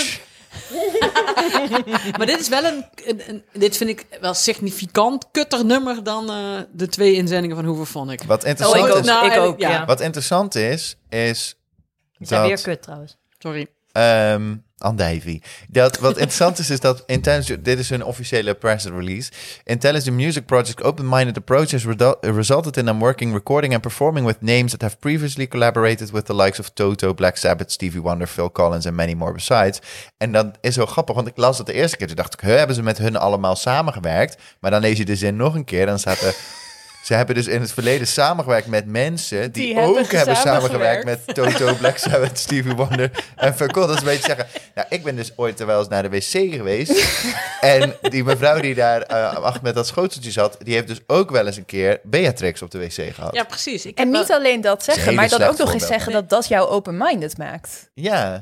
rash. Maar dit is wel een, een- een- Dit vind ik wel significant kutter nummer dan eh, de twee inzendingen van Hoeveel vond ik. Wat interessant Oh, ik is. ook. Nou, ik ook, ja. ja. Wat interessant is, is Die zijn weer dat... kut trouwens. Sorry. ehm andijvie. Dat, wat interessant is, is dat Intelligent... Dit is hun officiële press release. Intelligent Music Project open-minded approach has redu- resulted in them working, recording and performing with names that have previously collaborated with the likes of Toto, Black Sabbath, Stevie Wonder, Phil Collins and many more besides. En dat is zo grappig, want ik las het de eerste keer. Toen dacht ik, "Huh, hebben ze met hun allemaal samengewerkt? Maar dan lees je de zin nog een keer en dan staat er... Ze hebben dus in het verleden samengewerkt met mensen die, Die ook hebben hebben samengewerkt samengewerkt. met Toto, Black Sabbath, Stevie Wonder en Phil Collins. Dat is een beetje zeggen, nou, ik ben dus ooit wel eens naar de wc geweest. en die mevrouw die daar eh, achter met dat schoteltje zat, die heeft dus ook wel eens een keer Beatrix op de wc gehad. Ja, Ja, precies. Ik En heb niet wel- alleen dat is een zeggen, hele maar dan ook slecht nog eens voorbeeld. zeggen dat dat jou open-minded maakt.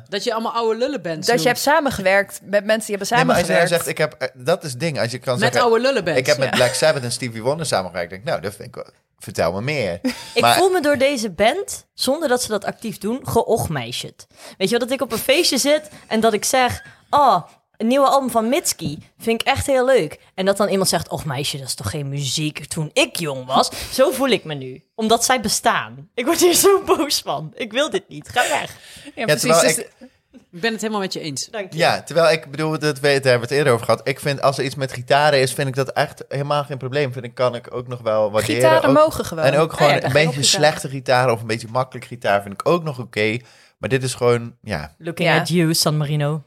dat je allemaal oude lullen bent. Dat je hebt samengewerkt met mensen die hebben Nee, maar als je nou samengewerkt. zegt, ik heb, eh, dat is het ding. Als je kan Met zeggen, oude lullenbands, Ik heb met ja. Black Sabbath en Stevie Wonder samengewerkt. Denk, ik, nou, dat vind ik wel. Vertel me [laughs] meer. Ik Maar- voel me door deze band, zonder dat ze dat actief doen, geochmeisjed. Weet je wel, dat ik op een feestje zit en dat ik zeg... Oh, een nieuwe album van Mitski vind ik echt heel leuk. En dat dan iemand zegt, och meisje, dat is toch geen muziek toen ik jong was. Zo voel ik me nu, omdat [laughs] zij bestaan. Ik word hier zo boos van. Ik wil dit niet, ga weg. Ja, Ja, precies. terwijl Dus- ik- Ik ben het helemaal met je eens. Dank je. Ja, terwijl ik bedoel, dat we, daar hebben we het eerder over gehad. Ik vind als er iets met gitaren is, vind ik dat echt helemaal geen probleem. Vind ik, kan ik ook nog wel waarderen. Gitaren Ook- mogen gewoon. En ook gewoon Ah ja, daar een ga je beetje op gitaar. slechte gitaar of een beetje makkelijk gitaar vind ik ook nog oké. Maar dit is gewoon, ja. Looking Ja. at you, San Marino.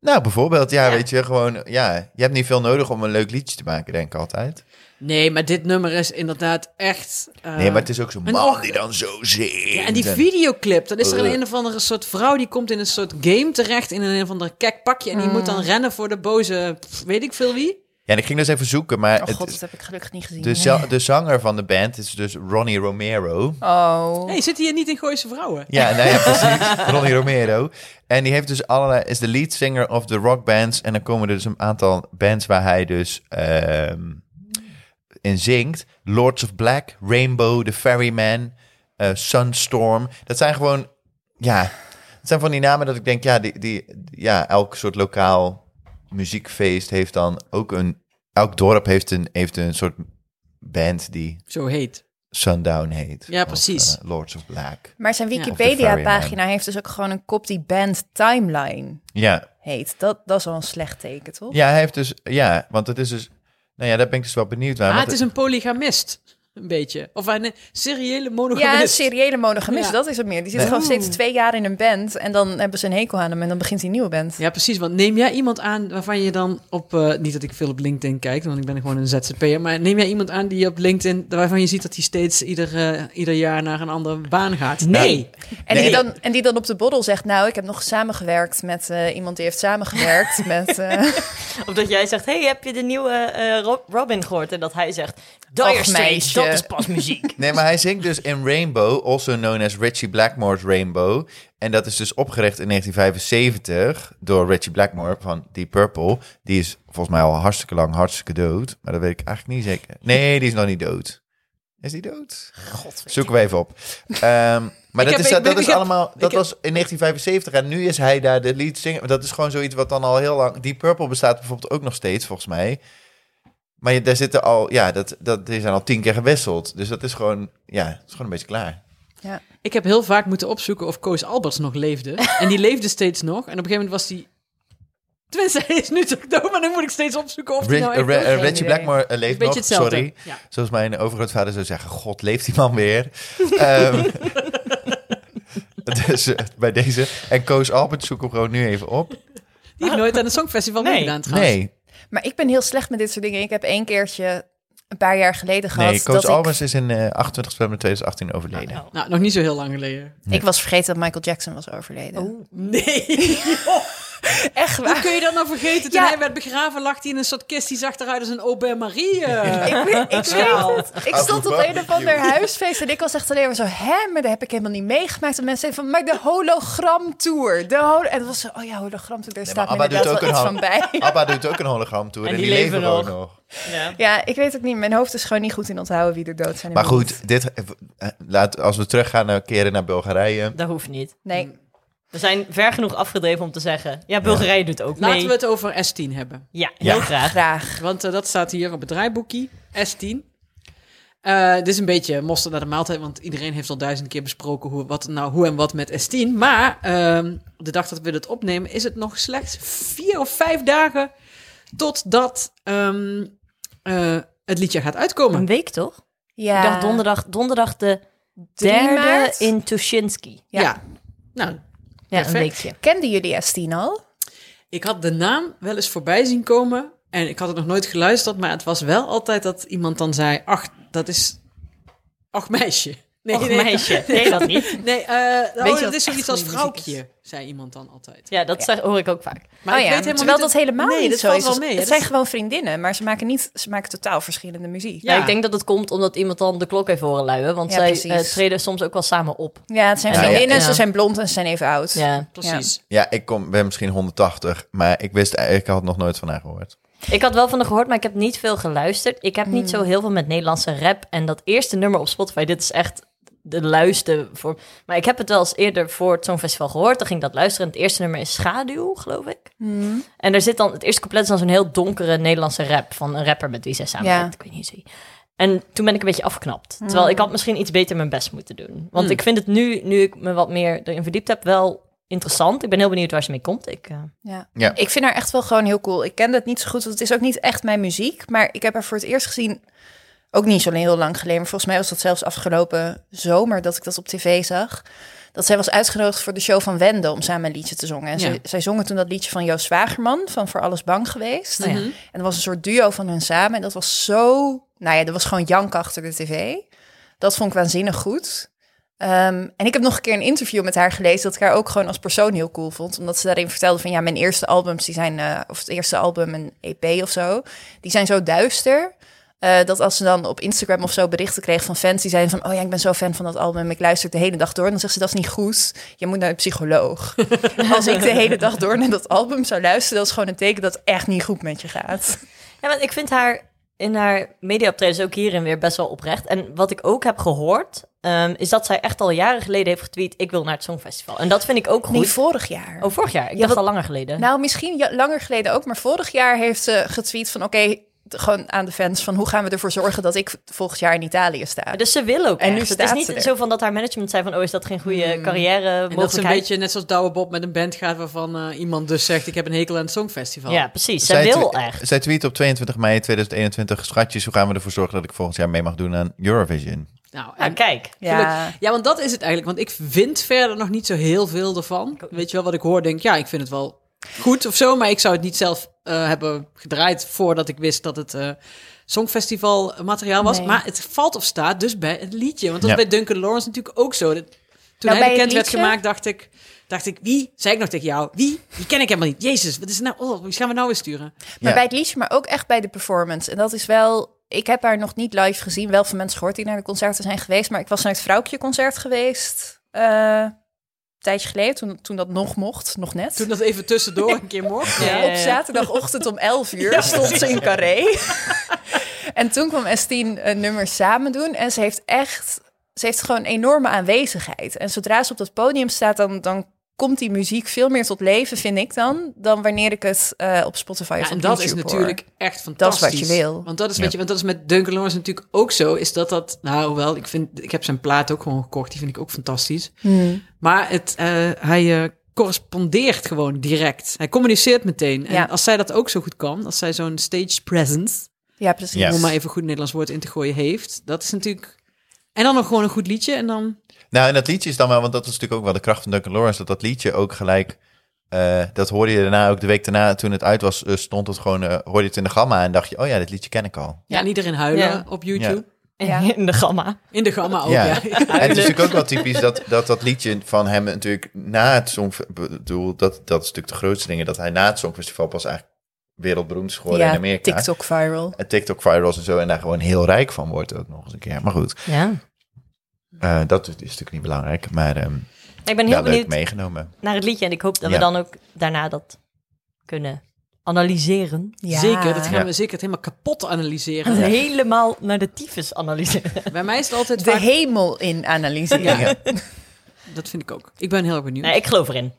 Nou, bijvoorbeeld, ja, Ja. weet je, gewoon, ja. Je hebt niet veel nodig om een leuk liedje te maken, denk ik altijd. Nee, maar dit nummer is inderdaad echt... eh, Nee, maar het is ook zo'n en man och- die dan zo zingt. Ja, en die videoclip, dan is er een, Ugh. een of andere soort vrouw die komt in een soort game terecht in een, of andere kek pakje. En die moet Hmm. dan rennen voor de boze, pff, weet ik veel wie. Ja, en ik ging dus even zoeken, maar Oh het- god, dat heb ik gelukkig niet gezien. de, za- de zanger van de band is dus Ronnie Romero. Oh. hey, zit hier niet in Gooise Vrouwen? Ja, nou ja, precies. Ronnie Romero. En die heeft dus allerlei... is de lead singer of de rockbands. En dan komen er dus een aantal bands waar hij dus ehm, in zingt. Lords of Black, Rainbow, The Ferryman, eh, Sunstorm. Dat zijn gewoon... Ja, dat zijn van die namen dat ik denk... Ja, die, die, ja elk soort lokaal muziekfeest heeft dan ook een... Elk dorp heeft een, heeft een soort band die Zo heet. Sundown heet. Ja, Of, precies. eh, Lords of Black. Maar zijn Ja. Of de Wikipedia-pagina heeft dus ook gewoon een kop die band timeline Ja, heet. Dat, dat is al een slecht teken, toch? Ja, hij heeft dus, ja, want het is dus, nou ja, daar ben ik dus wel benieuwd naar. ah, want het is een polygamist, een beetje. Of een eh, seriële monogamist. Ja, een seriële monogamist, Ja. dat is het meer. Die zit Nee. gewoon steeds twee jaar in een band en dan hebben ze een hekel aan hem en dan begint hij een nieuwe band. Ja, precies. Want neem jij iemand aan waarvan je dan op... eh, niet dat ik veel op LinkedIn kijk, want ik ben gewoon een ZZP'er. Maar neem jij iemand aan die je op LinkedIn... waarvan je ziet dat hij steeds ieder, eh, ieder jaar naar een andere baan gaat? Nee. En, Nee. die dan, en die dan op de borrel zegt, nou, ik heb nog samengewerkt met eh, iemand die heeft samengewerkt met... eh Of dat jij zegt, hey, heb je de nieuwe eh, Rob- Robin gehoord? En dat hij zegt, Och, Dire Straits, meisje. dat is pas [laughs] muziek. Nee, maar hij zingt dus in Rainbow, also known as Richie Blackmore's Rainbow. En dat is dus opgericht in 1975 door Richie Blackmore van Deep Purple. Die is volgens mij al hartstikke lang hartstikke dood, maar dat weet ik eigenlijk niet zeker. Nee, die is nog niet dood. Is die dood? Zoeken we even op. Ehm, maar Ik dat heb- is, ik ben- dat, dat is ik heb- allemaal. Dat ik heb- was in 1975 en nu is hij daar de lead singer. Dat is gewoon zoiets wat dan al heel lang. Deep Purple bestaat bijvoorbeeld ook nog steeds, volgens mij. Maar je- daar zitten al. Ja, dat, dat, die zijn al tien keer gewisseld. Dus dat is gewoon. Ja, het is gewoon een beetje klaar. Ik heb heel vaak moeten opzoeken of Koos Alberts nog [laughs] leefde. En die leefde steeds nog. En op een gegeven moment was die... Tenminste, hij is nu toch dood, maar dan moet ik steeds opzoeken of hij Rich- nou eh, echt... Re- eh, dood is. geen Reggie idee. Blackmore eh, leeft Een beetje nog. hetzelfde. Sorry. Ja. Zoals mijn overgrootvader zou zeggen: God, leeft die man weer? [laughs] Ehm, dus eh, bij deze. En Koos Albert zoek hem gewoon nu even op. Die heeft nooit aan het Songfestival Nee. meegedaan trouwens. Nee, maar ik ben heel slecht met dit soort dingen. Ik heb één keertje, een paar jaar geleden gehad, nee Koos dat ik, Albers is in eh 28 september 2018 overleden. Nou, nog niet zo heel lang geleden. ik was vergeten dat Michael Jackson was overleden. Nee. [laughs] Echt Hoe [laughs] waar? kun je dat nou vergeten? Toen Ja. hij werd begraven lag hij in een soort kist. Die zag eruit als een Aubert Marie. eh, [laughs] Ik, weet- ik schaal. weet het. [laughs] Ik stond op een of ander huisfeest en ik was echt alleen maar zo... hè, maar dat heb ik helemaal niet meegemaakt. En mensen zeiden van, maar de hologramtour. De holo en dat was zo, oh ja, hologramtour, daar staat ABBA me doet inderdaad ook wel een iets hand. van [laughs] bij. [laughs] Abba doet ook een hologram tour en, die, leven, gewoon nog. Ja. Ja, ik weet het niet. Mijn hoofd is gewoon niet goed in onthouden wie er dood zijn. en Maar wie niet. goed, dit, eh, laat, als we teruggaan naar keren naar Bulgarije. Dat hoeft niet. Nee, We zijn ver genoeg afgedreven om te zeggen, ja, Bulgarije doet ook mee. Laten we het over S10 hebben. Ja, heel Ja. graag. graag. Want eh, dat staat hier op het draaiboekje. S10. Eh, dit is een beetje mosterd naar de maaltijd. Want iedereen heeft al duizend keer besproken hoe, wat, nou, hoe en wat met S10. Maar ehm, op de dag dat we dit opnemen is het nog slechts vier of vijf dagen... totdat ehm, eh, het liedje gaat uitkomen. Een week toch? Ja. Ik dacht donderdag, donderdag de Eh, Drie derde maart? in Tuschinski. Ja. Ja. Nou, Ja, een Perfect. weekje. Kenden jullie S10 al? ik had de naam wel eens voorbij zien komen. En ik had het nog nooit geluisterd. Maar het was wel altijd dat iemand dan zei... Ach, dat is... Ach, meisje. [laughs] Nee, Och, meisje. Nee, dat niet. Nee, eh je oh, wat dat is zoiets echt als goede muziek is? vrouwtje, zei iemand dan altijd. Ja, dat zeg- hoor ik ook vaak. Maar oh ja, terwijl dat het- helemaal nee, niet dat zo valt is. Wel mee, hè. het Dat zijn gewoon vriendinnen, maar ze maken, niet, ze maken totaal verschillende muziek. Ja. Ja. ik denk dat het komt omdat iemand dan de klok heeft horen luiden. Want Ja, zij precies. eh, treden soms ook wel samen op. Ja, het zijn Ja, ja. vriendinnen, Ja. ze zijn blond en ze zijn even oud. Ja. [laughs] Precies. Ja, ik kom, ben misschien 180, maar ik wist eh, ik had nog nooit van haar gehoord. Ik had wel van haar gehoord, maar ik heb niet veel geluisterd. Ik heb niet zo heel veel met Nederlandse rap. En dat eerste nummer op Spotify, dit is echt de luister voor... Maar ik heb het wel eens eerder voor het Songfestival gehoord. Dan ging ik dat luisteren. En het eerste nummer is Schaduw, geloof ik. En daar zit dan... Het eerste couplet is dan zo'n heel donkere Nederlandse rap... van een rapper met wie zij samenwerkt. Ja. Ik weet niet wie. En toen ben ik een beetje afgeknapt. Terwijl ik had misschien iets beter mijn best moeten doen. Want ik vind het nu, nu ik me wat meer erin verdiept heb, wel interessant. Ik ben heel benieuwd waar ze mee komt. Ik, eh, Ja. Ja. Ik vind haar echt wel gewoon heel cool. Ik ken dat niet zo goed, want het is ook niet echt mijn muziek. Maar ik heb haar voor het eerst gezien, ook niet zo heel lang geleden. Maar volgens mij was dat zelfs afgelopen zomer dat ik dat op tv zag. Dat zij was uitgenodigd voor de show van Wende om samen een liedje te zongen. Ja. En zij, zij zongen toen dat liedje van Joost Zwagerman, van Voor Alles Bang Geweest. nou ja. En er was een soort duo van hun samen. En dat was zo... Nou ja, er was gewoon jank achter de tv. Dat vond ik waanzinnig goed. Ehm, en ik heb nog een keer een interview met haar gelezen... dat ik haar ook gewoon als persoon heel cool vond. Omdat ze daarin vertelde van... ja, mijn eerste albums, die zijn... eh, of het eerste album, een EP of zo... die zijn zo duister... eh, dat als ze dan op Instagram of zo berichten kreeg van fans... die zeiden van, oh ja, ik ben zo fan van dat album... ik luister het de hele dag door. En dan zegt ze, dat is niet goed. Je moet naar een [laughs] psycholoog. als ik de hele dag door naar dat album zou luisteren... dat is gewoon een teken dat het echt niet goed met je gaat. Ja, want ik vind haar in haar mediaoptredens ook hierin weer best wel oprecht. En wat ik ook heb gehoord, ehm, is dat zij echt al jaren geleden heeft getweet... ik wil naar het Songfestival. En dat vind ik ook goed. Niet vorig jaar. Oh, vorig jaar. Ik dacht wat- al langer geleden. Nou, misschien ja- langer geleden ook, maar vorig jaar heeft ze getweet van oké, t- gewoon aan de fans van hoe gaan we ervoor zorgen dat ik volgend jaar in Italië sta. dus ze wil ook En nu echt. Het is staat niet ze er. Hmm. zo van dat haar management zei van... oh, is dat geen goede carrière En dat ze een mogelijkheid? beetje net zoals Douwe Bob met een band gaat waarvan eh, iemand dus zegt ik heb een hekel aan het Songfestival. Ja, precies. Zij wil twe- echt. Zij tweet op 22 mei 2021, schatjes, hoe gaan we ervoor zorgen dat ik volgend jaar mee mag doen aan Eurovision? Nou, en Nou, kijk. Ja. ja, want dat is het eigenlijk. Want ik vind verder nog niet zo heel veel ervan. Weet je wel, wat ik hoor, denk ja, ik vind het wel goed of zo. Maar ik zou het niet zelf eh, hebben gedraaid voordat ik wist dat het eh, Songfestival materiaal was. Nee. Maar het valt of staat dus bij het liedje. Want dat Ja. was bij Duncan Lawrence natuurlijk ook zo. Dat- toen Nou, bij hij het bekend werd liedje- gemaakt, dacht ik, dacht ik, wie? Zei ik nog tegen jou, wie? Die ken ik helemaal niet. Jezus, wat is het nou? Oh, wie gaan we nou weer sturen? Maar Ja. bij het liedje, maar ook echt bij de performance. En dat is wel. Ik heb haar nog niet live gezien. Wel van mensen gehoord die naar de concerten zijn geweest. Maar ik was naar het Vrouwtje concert geweest. eh, een tijdje geleden, toen, toen dat nog mocht. Nog net. Toen dat even [laughs] tussendoor een keer mocht. Ja. Op zaterdagochtend om 11 uur stond ze in Carré. [laughs] en toen kwam Estine een nummer samen doen. En ze heeft echt... Ze heeft gewoon een enorme aanwezigheid. En zodra ze op dat podium staat, dan, dan komt die muziek veel meer tot leven, vind ik dan... dan wanneer ik het eh, op Spotify of Ja, en op dat is YouTube hoor. natuurlijk echt Dat is fantastisch. wat je wil. Want dat is, Ja. weet je, want dat is met Duncan Lawrence natuurlijk ook zo. Is dat dat, nou wel, ik, vind, ik heb zijn plaat ook gewoon gekocht. Die vind ik ook fantastisch. Hmm. Maar het, eh, hij eh, correspondeert gewoon direct. Hij communiceert meteen. En Ja. als zij dat ook zo goed kan, als zij zo'n stage presence, Ja, precies. Ja. om maar even goed Nederlands woord in te gooien, heeft. Dat is natuurlijk... En dan nog gewoon een goed liedje. En dan, Nou, en dat liedje is dan wel, want dat is natuurlijk ook wel de kracht van Duncan Lawrence, dat dat liedje ook gelijk, eh, dat hoorde je daarna ook de week daarna, toen het uit was, eh, stond het gewoon, eh, hoorde je het in de gamma en dacht je, oh ja, dit liedje ken ik al. ja, en iedereen huilen Ja. op YouTube. Ja. [laughs] In de gamma. In de gamma ook, Ja. Oh, ja. [laughs] En het is natuurlijk ook wel typisch dat dat, dat liedje van hem natuurlijk na het song, bedoel, dat, dat is natuurlijk de grootste dingen, dat hij na het songfestival pas eigenlijk wereldberoemd is geworden in Ja, Amerika. TikTok viral. En TikTok virals en zo en daar gewoon heel rijk van wordt ook nog eens een keer. Maar goed, Ja. eh, dat is natuurlijk niet belangrijk, maar ehm Ik ben heel ja, leuk benieuwd meegenomen. naar het liedje. En ik hoop dat Ja. we dan ook daarna dat kunnen analyseren. [laughs] Ja. Zeker, dat gaan Ja. we zeker het helemaal kapot [laughs] analyseren. Helemaal naar de tyfus analyseren. Bij mij is het altijd De vaak- hemel in analyseren. Ja. Ja. Dat vind ik ook. Ik ben heel erg benieuwd. Nee, ik geloof erin.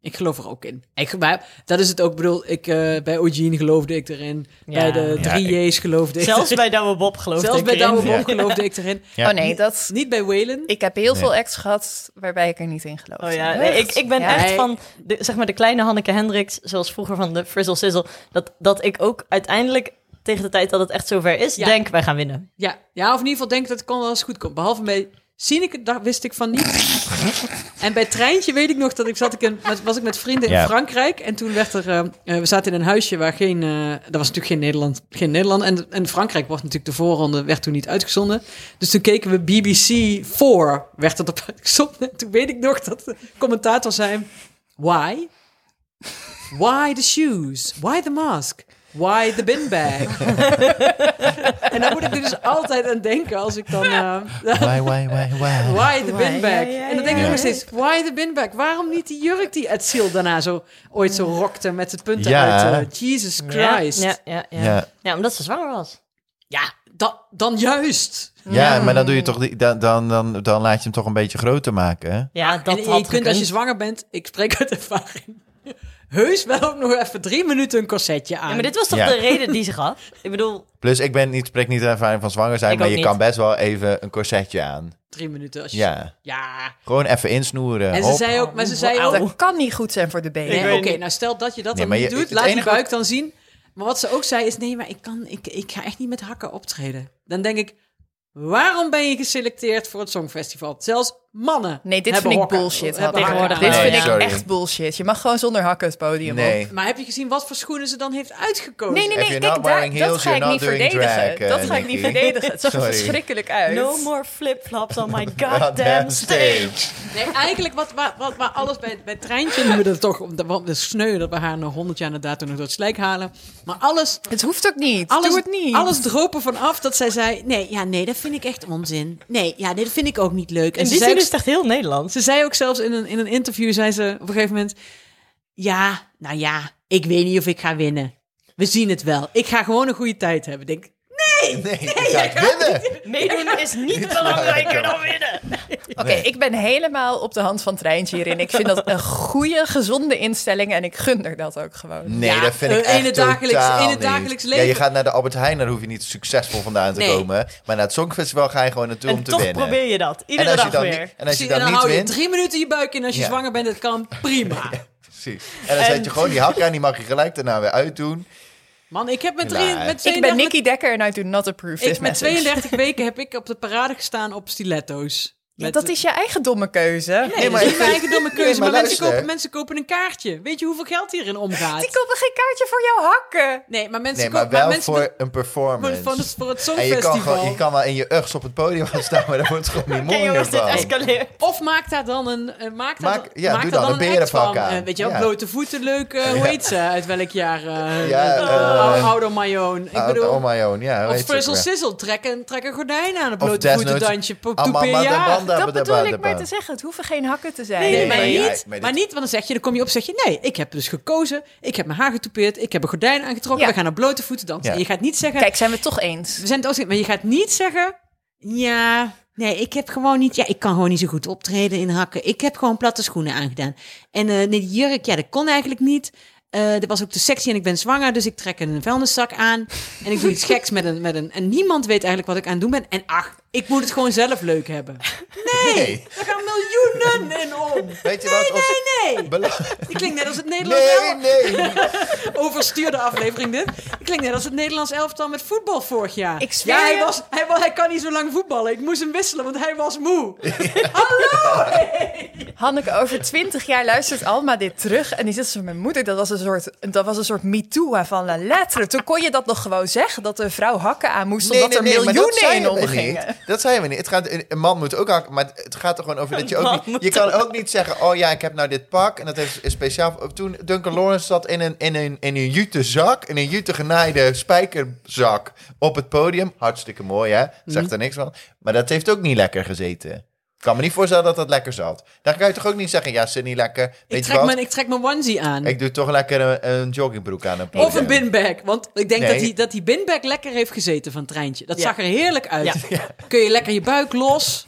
Ik geloof er ook in. Ik, maar dat is het ook. Ik bedoel, ik, eh, bij Eugene geloofde ik erin. Ja. Bij de Ja, drie J's [laughs] geloofde ik Zelfs erin. bij Douwe Bob geloof Zelfs ik bij erin. Douwe Bob Ja. geloofde ik erin. Ja. Oh nee, dat... Niet bij Whalen. Ik heb heel Nee. veel acts gehad waarbij ik er niet in geloof. Oh ja, nee, ik, ik ben Ja. echt van de, zeg maar de kleine Hanneke Hendricks, zoals vroeger van de Frizzle Sizzle, dat, dat ik ook uiteindelijk tegen de tijd dat het echt zover is, Ja. denk wij gaan winnen. Ja. ja, of in ieder geval denk ik dat het kon wel eens goed komt. Behalve bij Sineke, daar wist ik van niet. en bij Treintje weet ik nog dat ik zat ik in, was ik met vrienden in Ja. Frankrijk. En toen werd er, eh, eh, we zaten in een huisje waar geen, eh er was natuurlijk geen Nederland. Geen Nederland. En, en Frankrijk was natuurlijk de voorronde, werd toen niet uitgezonden. Dus toen keken we BBC 4, werd dat op uitgezonden. En toen weet ik nog dat de commentator zei, why? Why the shoes? Why the mask? Why the bin bag? en daar moet ik er dus altijd aan denken als ik dan... eh, [laughs] Why, why, why, why? why the Why, bin bag? ja, ja, en dan denk ik ja. ook nog steeds, why the bin bag? Waarom niet die jurk die Etziel daarna zo, ooit zo rokte met het punt Ja. eruit? eh, Jesus Christ. Ja, ja, ja, ja. Ja. Ja, omdat ze zwanger was. Ja, da- dan juist. Ja, maar dan doe je toch die, dan, dan, dan, dan laat je hem toch een beetje groter maken. hè? Ja, dat en je had kunt als je gekund. zwanger bent, ik spreek uit ervaring. [laughs] heus wel nog even drie minuten een corsetje aan. Ja, maar dit was toch Ja. de reden die ze gaf? Ik bedoel, Plus, ik ben niet, spreek niet de ervaring van zwanger zijn, Ik maar ook je niet. kan best wel even een corsetje aan. Drie minuten. Als je... Ja, Ja. gewoon even insnoeren. En ze hop. zei ook, maar ze zei Wauw. ook... Dat kan niet goed zijn voor de benen. Nee, weet oké, niet. nou stel dat je dat Nee, dan maar niet je- doet, het laat die enige buik wat- dan zien. Maar wat ze ook zei is, nee, maar ik, kan, ik, ik ga echt niet met hakken optreden. Dan denk ik, waarom ben je geselecteerd voor het Songfestival? Zelfs mannen Nee, dit hebben vind ik hokken- bullshit. hebben Hanneke. tegenwoordig dit wel, vind ja. ik Sorry. echt bullshit. Je mag gewoon zonder hakken het podium op. Nee. Maar heb je gezien wat voor schoenen ze dan heeft uitgekozen? Nee, nee, If nee. you're Kijk, not daar, wearing dat heels, ga ik you're niet not doing verdedigen. drag, eh, dat ga ik niet Nikki. verdedigen. Het zag er Sorry. verschrikkelijk uit. no more flip-flops on [laughs] my Goddamn goddamn stage. Nee, eigenlijk wat, wat, wat maar alles bij, bij Treintje noemen we dat toch, om- want het is sneu dat we haar nog 100 jaar na dato nog door het slijk halen. Maar alles, Het hoeft ook niet. alles, Doe het niet. alles droop er van af dat zij zei, nee, ja, nee, dat vind ik echt onzin. Nee, ja, dit vind ik ook niet leuk. In ze zei die zin ook- is het echt heel [laughs] Nederlands. Ze zei ook zelfs in een, in een interview, zei ze op een gegeven moment... Ja, nou ja, ik weet niet of ik ga winnen. We zien het wel. Ik ga gewoon een goede tijd hebben. Denk, Nee, ik ga het winnen. [laughs] Meedoen is niet belangrijker dan winnen. Oké, ik ben helemaal op de hand van Treintje hierin. Ik vind dat een goede, gezonde instelling. En ik gun er dat ook gewoon. Nee, Ja, dat vind ik eh, in echt het dagelijks- totaal in het niet. dagelijks Ja, je leven. gaat naar de Albert Heijn, daar hoef je niet succesvol vandaan te Nee. komen. Maar naar het Songfestival ga je gewoon naartoe om En te toch winnen. probeer je dat. en Iedere als je dag dan, weer. niet- en als je en dan, dan niet hou je wint, drie minuten je buik in als je Ja. zwanger bent. Dat kan [laughs] prima. precies. En dan zet je gewoon die hak aan, die mag je gelijk daarna weer uitdoen. Man, ik heb met, drie, Nee. met 32, Ik ben Nikki Dekker en I do not approve ik- this met message. 32 weken heb ik op de parade gestaan op stiletto's. Ja, Met- dat is je eigen domme keuze. Nee, dat is mijn eigen domme keuze. maar maar mensen, luister. kopen, mensen kopen een kaartje. Weet je hoeveel geld hierin Die omgaat? kopen geen kaartje voor jouw hakken. Nee, maar mensen Nee, maar kopen... maar wel mensen voor een doen het performance. voor het, voor het en je Songfestival. kan, gewoon, je kan wel in je uggs op het podium gaan staan, maar daar wordt gewoon niet Oké mooi jongens, dit van. escaleert. Of maak daar dan een. eh, maak daar, Maak- ja, maak doe daar dan dan, een een act berenpak van. aan. Eh, weet je wel, Ja. blote voeten, leuk. eh, hoe Ja. heet ze? Uit welk jaar? eh Ja, eh, eh, Ou- Oudo Mayoon. Ik Out bedoel. on my own, ja. weet of je ook Frizzle weer. Sizzle. Trek een, trek een gordijn aan. Een Of blote desnoods- voeten dansje. Pop Amma, toepie, ma, da, ja. bam, da, Dat ba, da, bedoel ba, da, ik maar ba. te zeggen. Het hoeven geen hakken te zijn. Nee, Nee, maar, maar ja, niet, ik weet maar het. niet, want dan zeg je, dan kom je op zeg je... nee, ik heb dus gekozen, ik heb mijn haar getoupeerd... ik heb een gordijn aangetrokken, Ja. we gaan naar blote voeten dansen. Ja. En je gaat niet zeggen, Kijk, zijn we het toch eens? we zijn het ook, maar je gaat niet zeggen. Ja, nee, ik heb gewoon niet. Ja, ik kan gewoon niet zo goed optreden in hakken. Ik heb gewoon platte schoenen aangedaan. En eh, nee, die jurk, ja, dat kon eigenlijk niet. Eh dat was ook te sexy en ik ben zwanger, dus ik trek een vuilniszak aan. En ik doe iets geks met een, met een. En niemand weet eigenlijk wat ik aan het doen ben. En ach, ik moet het gewoon zelf leuk hebben. Nee, Daar gaan miljoenen in om. weet je wat? ons- Nee, nee. Bela- Ik klink net als het Nederlands Nee, elftal. nee. Overstuurde aflevering dit. Ik klink net als het Nederlands elftal met voetbal vorig jaar. Ik zweer ja, hij, je. was, hij, wa- hij kan niet zo lang voetballen. Ik moest hem wisselen, want hij was moe. Hanneke, over twintig jaar luistert Alma dit terug. En die zegt zo, mijn moeder, dat was een soort, dat was een soort MeToo van la lettre. Toen kon je dat nog gewoon zeggen, dat een vrouw hakken aan moest, omdat er maar miljoenen dat zeiden in we omgingen. niet. Dat zijn we niet. Het gaat, een man moet ook hakken, maar het gaat er gewoon over dat je ook niet... Je kan ook niet zeggen, oh ja, ik heb nou dit pak en dat is, is speciaal... voor- Toen Duncan Lawrence zat in een, in een, in een jute zak, in een jute genaaide spijkerzak op het podium. Hartstikke mooi, hè? Zegt er niks van. Maar dat heeft ook niet lekker gezeten. Ik kan me niet voorstellen dat dat lekker zat. Dan kan je toch ook niet zeggen, ja, zit niet lekker. Ik Weet je trek, wat? mijn, ik trek mijn onesie aan. Ik doe toch lekker een, een joggingbroek aan een podium. of een binbag. Want ik denk Nee. dat, die, dat die binbag lekker heeft gezeten van Treintje. Dat Ja. zag er heerlijk uit. Kun je lekker je buik los.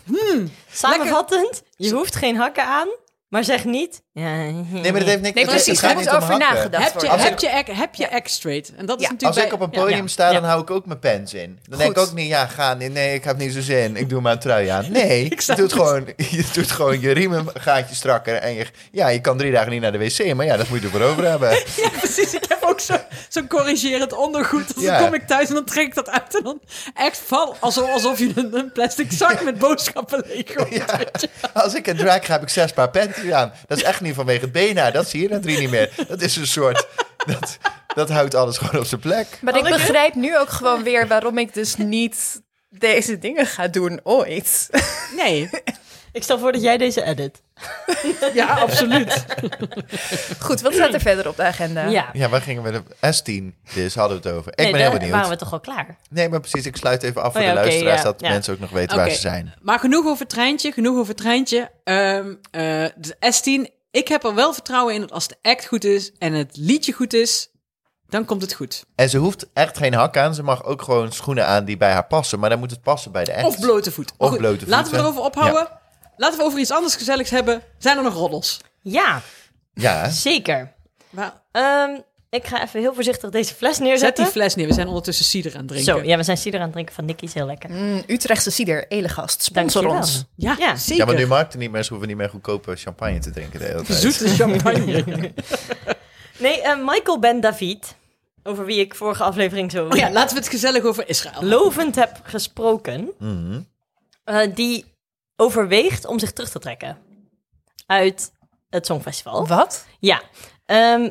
Samenvattend, je hoeft geen hakken aan, maar zeg niet... Nee, maar dat heeft niks... Nee, het- het precies, gaat daar niet wordt om over hakken. nagedacht. heb je, wordt. heb, je act, heb je act straight. En dat is Ja. natuurlijk Als bij- ik op een Ja. podium sta, Ja. dan hou ik ook mijn pens in. Dan denk ik Goed. ook niet, ja, ga, nee, nee, ik heb niet zo zin. Ik doe maar een trui aan. Nee, je, snap doet het. gewoon, [laughs] je doet gewoon je riem een gaatje strakker. En je, ja, je kan drie dagen niet naar de wc, maar ja, dat moet je ervoor over hebben. [laughs] Ja, precies. Ik heb ook zo- zo'n corrigerend ondergoed. Dus Ja. dan kom ik thuis en dan trek ik dat uit. En dan echt val alsof, alsof je een, een plastic zak met boodschappen leeg gooit. Ja. Als ik een drag ga, heb ik zes paar panties aan. Dat is echt niet vanwege het been haar. Dat zie je na drie niet meer. Dat is een soort... Dat, dat houdt alles gewoon op zijn plek. Maar ik begrijp nu ook gewoon weer waarom ik dus niet deze dingen ga doen ooit. [laughs] Nee. Ik stel voor dat jij deze edit. [laughs] Ja, absoluut. Goed, wat staat er verder op de agenda? Ja, waar gingen we? de- S10, dus hadden we het over. Ik Nee, ben heel daar benieuwd. waren we toch al klaar. Nee, maar precies. Ik sluit even af voor ja, de oké, luisteraars. ja, dat de ja. mensen ook nog weten Oké. waar ze zijn. Maar genoeg over treintje, genoeg over treintje. Ehm, eh, de S10, ik heb er wel vertrouwen in dat als de act goed is en het liedje goed is, dan komt het goed. En ze hoeft echt geen hak aan. Ze mag ook gewoon schoenen aan die bij haar passen. Maar dan moet het passen bij de echt. Of blote voet. Maar Of blote voet, Laten we hè? erover ophouden. Laten we over iets anders gezelligs hebben. Zijn er nog roddels? Ja, Ja, zeker. Waar- Ehm, ik ga even heel voorzichtig deze fles Zet die neerzetten. fles neer. We zijn ondertussen cider aan het drinken. Zo, ja, we zijn cider aan het drinken van Nicky, is heel lekker. Mm, Utrechtse cider, Elegast, sponsor Dankjewel. ons. Ja, Ja. Ja, zeker. maar nu maakt het niet meer. Ze hoeven niet meer goedkope champagne te drinken de hele tijd. [laughs] Zoete champagne. Nee, eh, Michael Ben David, over wie ik vorige aflevering zo oh ja, laten we het gezellig over Israël. lovend heb gesproken, Mhm. eh, die overweegt om zich terug te trekken uit het Songfestival. Wat? Ja, ehm,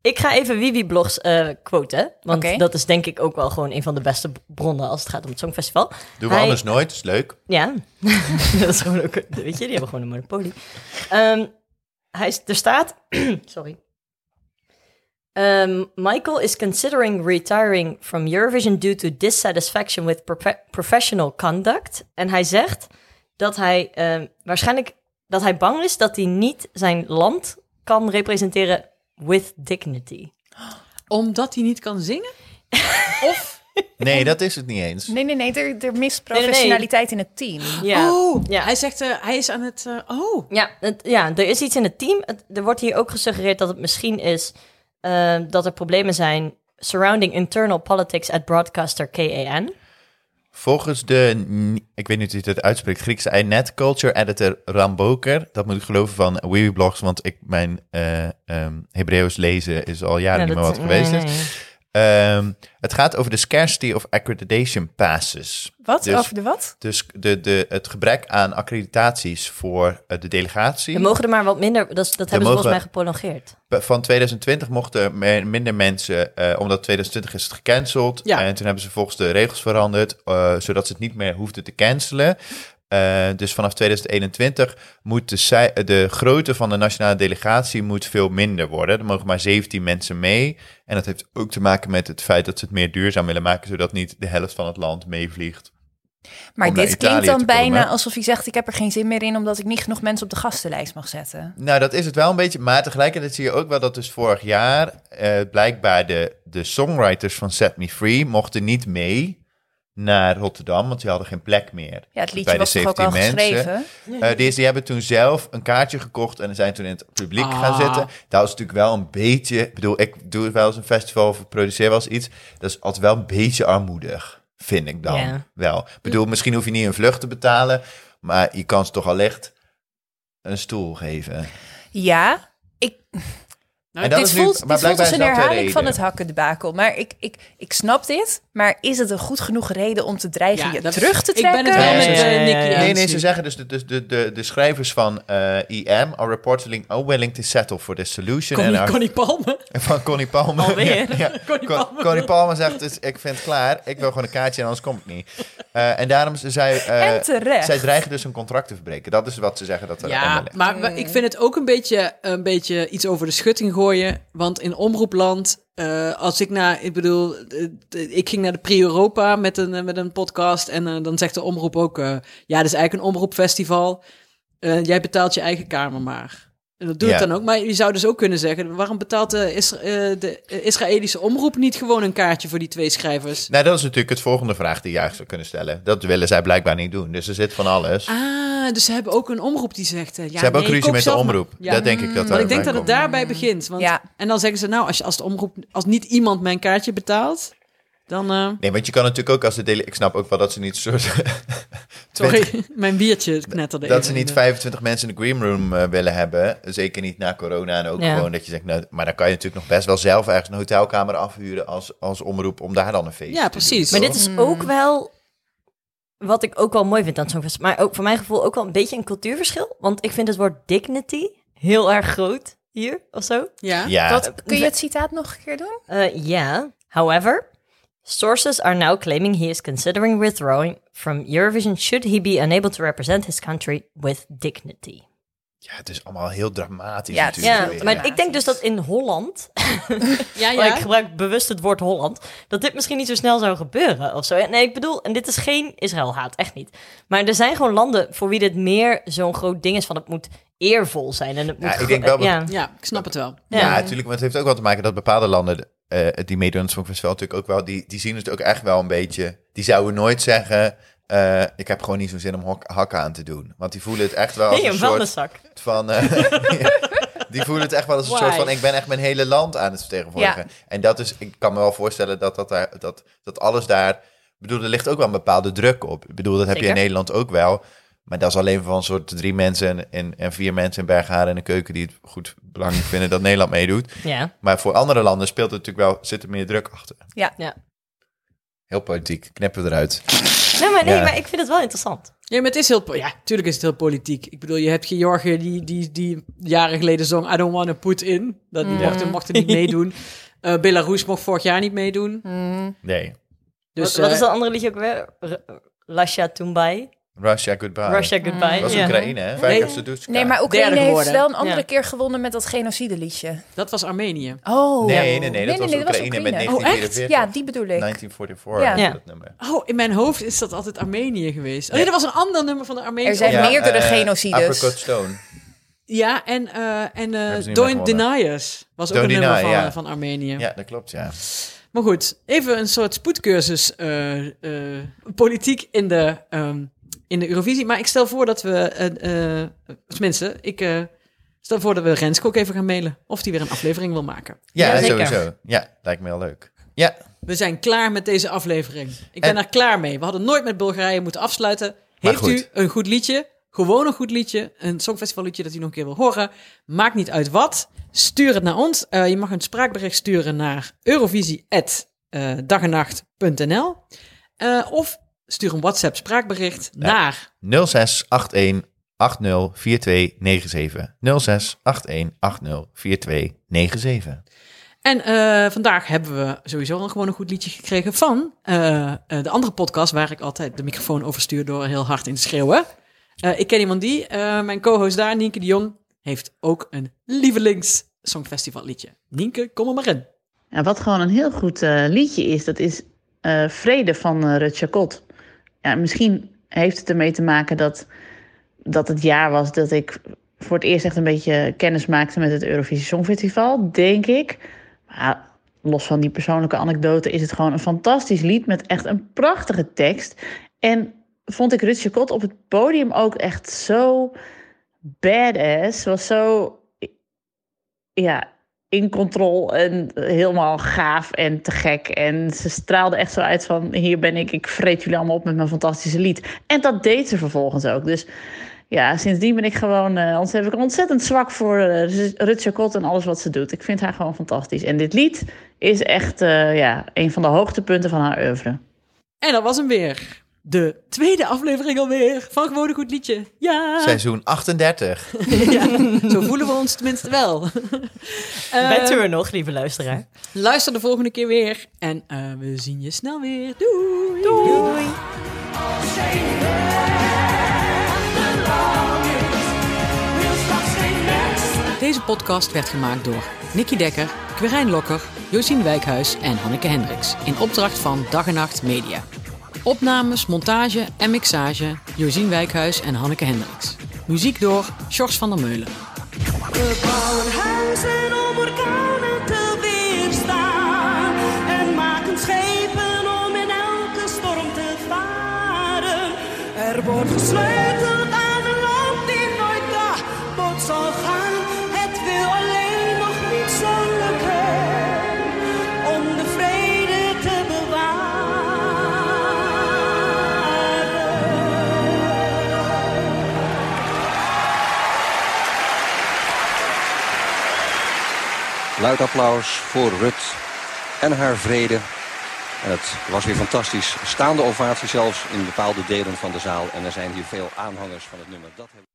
ik ga even Wiwi Blogs eh quoten, want Oké. dat is denk ik ook wel gewoon een van de beste bronnen als het gaat om het Songfestival. Doen we Hij- anders nooit. Is leuk. Ja, [laughs] dat is gewoon ook. Weet je, die hebben gewoon een monopolie. Ehm, hij is, er staat. [clears throat] sorry. Ehm, Michael is considering retiring from Eurovision due to dissatisfaction with profe- professional conduct. En hij zegt dat hij ehm, waarschijnlijk dat hij bang is dat hij niet zijn land kan representeren with dignity. Omdat hij niet kan zingen? Of... Nee, dat is het niet eens. Nee, nee, nee, er, er mist nee, nee. professionaliteit in het team. Ja. Oh, ja. hij zegt, eh, hij is aan het... eh, oh, Ja, het- ja, er is iets in het team. Het- er wordt hier ook gesuggereerd dat het misschien is eh, dat er problemen zijn surrounding internal politics at broadcaster KAN. Volgens de, n- ik weet niet hoe je dat uitspreekt, Griekse iNet culture editor Ram Boker. Dat moet ik geloven van Weeblogs, want ik, mijn eh ehm, Hebreeuws lezen is al jaren Ja, niet meer dat- wat geweest nee, is. nee. Ehm, het gaat over de scarcity of accreditation passes. Wat? Dus- Over de wat? Dus de, de, het gebrek aan accreditaties voor eh, de delegatie. Er mogen er maar wat minder, dat, is- dat hebben ze mogen- volgens mij geprolongeerd. Van 2020 mochten meer- minder mensen, eh, omdat 2020 is het gecanceld. Ja. En toen hebben ze volgens de regels veranderd, eh, zodat ze het niet meer hoefden te cancelen. Eh, dus vanaf 2021 moet de, ci- de grootte van de nationale delegatie moet veel minder worden. Er mogen maar 17 mensen mee. En dat heeft ook te maken met het feit dat ze het meer duurzaam willen maken, zodat niet de helft van het land meevliegt. Maar Om naar dit Italië klinkt dan te komen. bijna alsof hij zegt... ik heb er geen zin meer in omdat ik niet genoeg mensen op de gastenlijst mag zetten. Nou, dat is het wel een beetje. Maar tegelijkertijd zie je ook wel dat dus vorig jaar eh, blijkbaar de, de songwriters van Set Me Free mochten niet mee naar Rotterdam, want die hadden geen plek meer. Ja, het liedje Bij de was toch ook 17 al mensen. geschreven? Eh, dus die hebben toen zelf een kaartje gekocht en zijn toen in het publiek Ah. gaan zitten. Dat is natuurlijk wel een beetje, ik bedoel, ik doe wel eens een festival of ik produceer wel eens iets. Dat is altijd wel een beetje armoedig, vind ik dan Ja. wel. Ik bedoel, misschien hoef je niet een vlucht te betalen, maar je kan ze toch allicht een stoel geven. Ja, ik, En dat Nou, dit is nu- voelt, dit voelt blijkbaar als is een dat de herhaling van reden. het hakkendebakel. Maar ik, ik, ik snap dit. Maar is het een goed genoeg reden om te dreigen je dat- terug te Ik ben trekken? het wel Nee, met nee, eh, nee, Nicky nee, Nee, eens nee, nu. ze zeggen dus, de, dus de, de, de schrijvers van eh, IM are reportedly unwilling to settle for this solution. Connie, and are- Connie Palme. Van Connie Palmer. Alweer? Ja, ja. [laughs] Connie Con- Palmer. Connie Palmer zegt, dus, ik vind het klaar. Ik wil gewoon een kaartje en anders kom ik niet. Eh, en daarom ze zei... eh, En terecht. Zij dreigen dus een contract te verbreken. Dat is wat ze zeggen dat er Ja, onder ligt. maar we- ik vind het ook een beetje, een beetje iets over de schutting gooien. Want in omroepland, eh, als ik naar, ik bedoel, eh, ik ging naar de Pre-Europa met een, eh, met een podcast. En eh, dan zegt de omroep ook, eh, ja, dit is eigenlijk een omroepfestival. Eh, jij betaalt je eigen kamer maar. En dat doe ik Ja. dan ook. Maar je zou dus ook kunnen zeggen, waarom betaalt de, Isra- eh, de eh, Israëlische omroep niet gewoon een kaartje voor die twee schrijvers? Nou, dat is natuurlijk het volgende vraag die je eigenlijk zou kunnen stellen. Dat willen zij blijkbaar niet doen. Dus er zit van alles. Ah, dus ze hebben ook een omroep die zegt... eh, ja, ze hebben ook nee, ruzie koop met de zelf maar- omroep. Ja. Dat denk ik dat Want ik daarbij denk dat het komt. daarbij begint. Want, Ja. En dan zeggen ze, nou, als, je, als de omroep, als niet iemand mijn kaartje betaalt, dan. eh, Nee, want je kan natuurlijk ook als de delen... Ik snap ook wel dat ze niet een soort... sorry, [laughs] mijn biertje knetterde. Dat even ze in niet de- 25 mensen in de green room eh, willen hebben. Zeker niet na corona. En ook Ja. gewoon dat je zegt, nou, maar dan kan je natuurlijk nog best wel zelf ergens een hotelkamer afhuren als, als omroep om daar dan een Ja, feest te doen, precies. Maar toch? dit is ook wel wat ik ook wel mooi vind aan zo'n festival. Maar ook voor mijn gevoel ook wel een beetje een cultuurverschil. Want ik vind het woord dignity heel erg groot hier of zo. Ja. Ja, Wat- kun je het citaat nog een keer doen? Uh, yeah. However, sources are now claiming he is considering withdrawing from Eurovision should he be unable to represent his country with dignity. ja, het is allemaal heel dramatisch Ja, het is natuurlijk. Ja, weer, heel maar ja. ik denk dus dat in Holland, [laughs] Ja, maar ik gebruik bewust het woord Holland, dat dit misschien niet zo snel zou gebeuren of zo. En Nee, ik bedoel, en dit is geen Israël-haat, echt niet. Maar er zijn gewoon landen voor wie dit meer zo'n groot ding is van het moet eervol zijn. En het moet ik gro- denk wel dat- ja. Ja, ik snap het wel. Ja, natuurlijk. Maar het heeft ook wel te maken dat bepaalde landen eh, die meedoen aan het Songfestival natuurlijk ook wel... Die, die zien het ook echt wel een beetje... Die zouden nooit zeggen... eh, ik heb gewoon niet zo'n zin om hok- hakken aan te doen. Want die voelen het echt wel als Nee, een een soort... vuilniszak. van. eh, [laughs] Die voelen het echt wel als een Why? soort van... ik ben echt mijn hele land aan het vertegenwoordigen. Ja. En dat is... Ik kan me wel voorstellen dat, dat, daar, dat, dat alles daar... Ik bedoel, er ligt ook wel een bepaalde druk op. Ik bedoel, dat heb je Zeker. in Nederland ook wel. Maar dat is alleen van soort drie mensen en, en, en vier mensen in Bergharen en de keuken... die het goed belangrijk [laughs] vinden dat Nederland meedoet. Ja. Maar voor andere landen speelt het natuurlijk wel... zit er meer druk achter. ja. Heel politiek. Knippen we eruit. Nee, maar, nee, Ja. maar ik vind het wel interessant. Ja, maar het is heel... po- Ja, tuurlijk is het heel politiek. Ik bedoel, je hebt Georgië die, die, die jaren geleden zong... I don't wanna put in. Dat, die mochten, mochten niet meedoen. Eh, Belarus mocht vorig jaar niet meedoen. Nee. Dus, wat, wat is eh, dat andere liedje ook weer? R- Lasha Tumbai. Russia, goodbye. Russia Goodbye. Ah, Dat was ja. Oekraïne, hè? Nee. Vijf nee. Nee, maar Derde Oekraïne heeft geworden. wel een andere Ja. keer gewonnen met dat genocide liedje. dat was Armenië. Oh. Nee, nee, nee, dat was Oekraïne met Oh, echt? 1944. Ja, die bedoel ik. 1944 Ja. ja. Ja. dat nummer. Oh, in mijn hoofd is dat altijd Armenië geweest. Oh, nee, dat was een ander nummer van de Armeense... Er zijn Ja, meerdere eh, genocides. Apricot Stone. en, eh en Hebben eh ze niet Don't meer gewonnen. Deniers was ook Don't een nummer Deny, van, ja. eh, van Armenië. Ja, dat klopt, ja. Maar goed, even een soort spoedcursus eh, eh, politiek in de, ehm, in de Eurovisie. Maar ik stel voor dat we, eh, eh, tenminste, ik eh, stel voor dat we Renske ook even gaan mailen. Of die weer een aflevering wil maken. Ja, Ja, zeker. sowieso. Ja, lijkt me heel leuk. Ja, We zijn klaar met deze aflevering. Ik ben En- er klaar mee. We hadden nooit met Bulgarije moeten afsluiten. Maar Heeft goed. u een goed liedje? Gewoon een goed liedje. Een songfestivalliedje dat u nog een keer wil horen. Maakt niet uit wat. Stuur het naar ons. Eh, je mag een spraakbericht sturen naar eh, eurovisie.dagenacht.nl Eh Of stuur een WhatsApp spraakbericht naar... 0681 804297. 0681 804297. En eh, vandaag hebben we sowieso al gewoon een goed liedje gekregen van eh, eh, de andere podcast... waar ik altijd de microfoon over stuur door heel hard in te schreeuwen. Eh, ik ken iemand die, eh, mijn co-host daar, Nienke de Jong... heeft ook een lievelings songfestival liedje. Nienke, kom er maar in. Ja, Nou, wat gewoon een heel goed eh, liedje is, dat is eh, Vrede van eh, Rutschakot. Ja, misschien heeft het ermee te maken dat, dat het jaar was dat ik voor het eerst echt een beetje kennis maakte met het Eurovisie Songfestival, denk ik. Maar los van die persoonlijke anekdote is het gewoon een fantastisch lied met echt een prachtige tekst. En vond ik Rutschakot op het podium ook echt zo badass. Was zo, ja, in controle en helemaal gaaf en te gek. En ze straalde echt zo uit van... hier ben ik, ik vreet jullie allemaal op met mijn fantastische lied. En dat deed ze vervolgens ook. Dus ja, sindsdien ben ik gewoon... eh ont- heb ik een ontzettend zwak voor eh Rutja Kot en alles wat ze doet. Ik vind haar gewoon fantastisch. En dit lied is echt eh, ja, een van de hoogtepunten van haar oeuvre. En dat was hem weer. De tweede aflevering alweer van Gewoon een Goed Liedje. Ah. Ja! Seizoen 38. Ja, Zo voelen we ons tenminste wel. Eh, Bent u er nog, lieve luisteraar? Luister de volgende keer weer. En eh, we zien je snel weer. Doei! Doei. Deze podcast werd gemaakt door Nicky Dekker, Quirijn Lokker, Josien Wijkhuis en Hanneke Hendricks. In opdracht van Dag en Nacht Media. Opnames, montage en mixage Josien Wijkhuis en Hanneke Hendricks. Muziek door Sjors van der Meulen. We bouwen huizen om orkanen te weerstaan. En maken schepen om in elke storm te varen. Er wordt gesleuteld aan een land die nooit kapot zal gaan. Het wil alleen nog niet zo lukken om de vrede te bewaren. Luid applaus voor Rut en haar vrede. En het was weer fantastisch. Staande ovatie zelfs in bepaalde delen van de zaal. En er zijn hier veel aanhangers van het nummer. Dat hebben-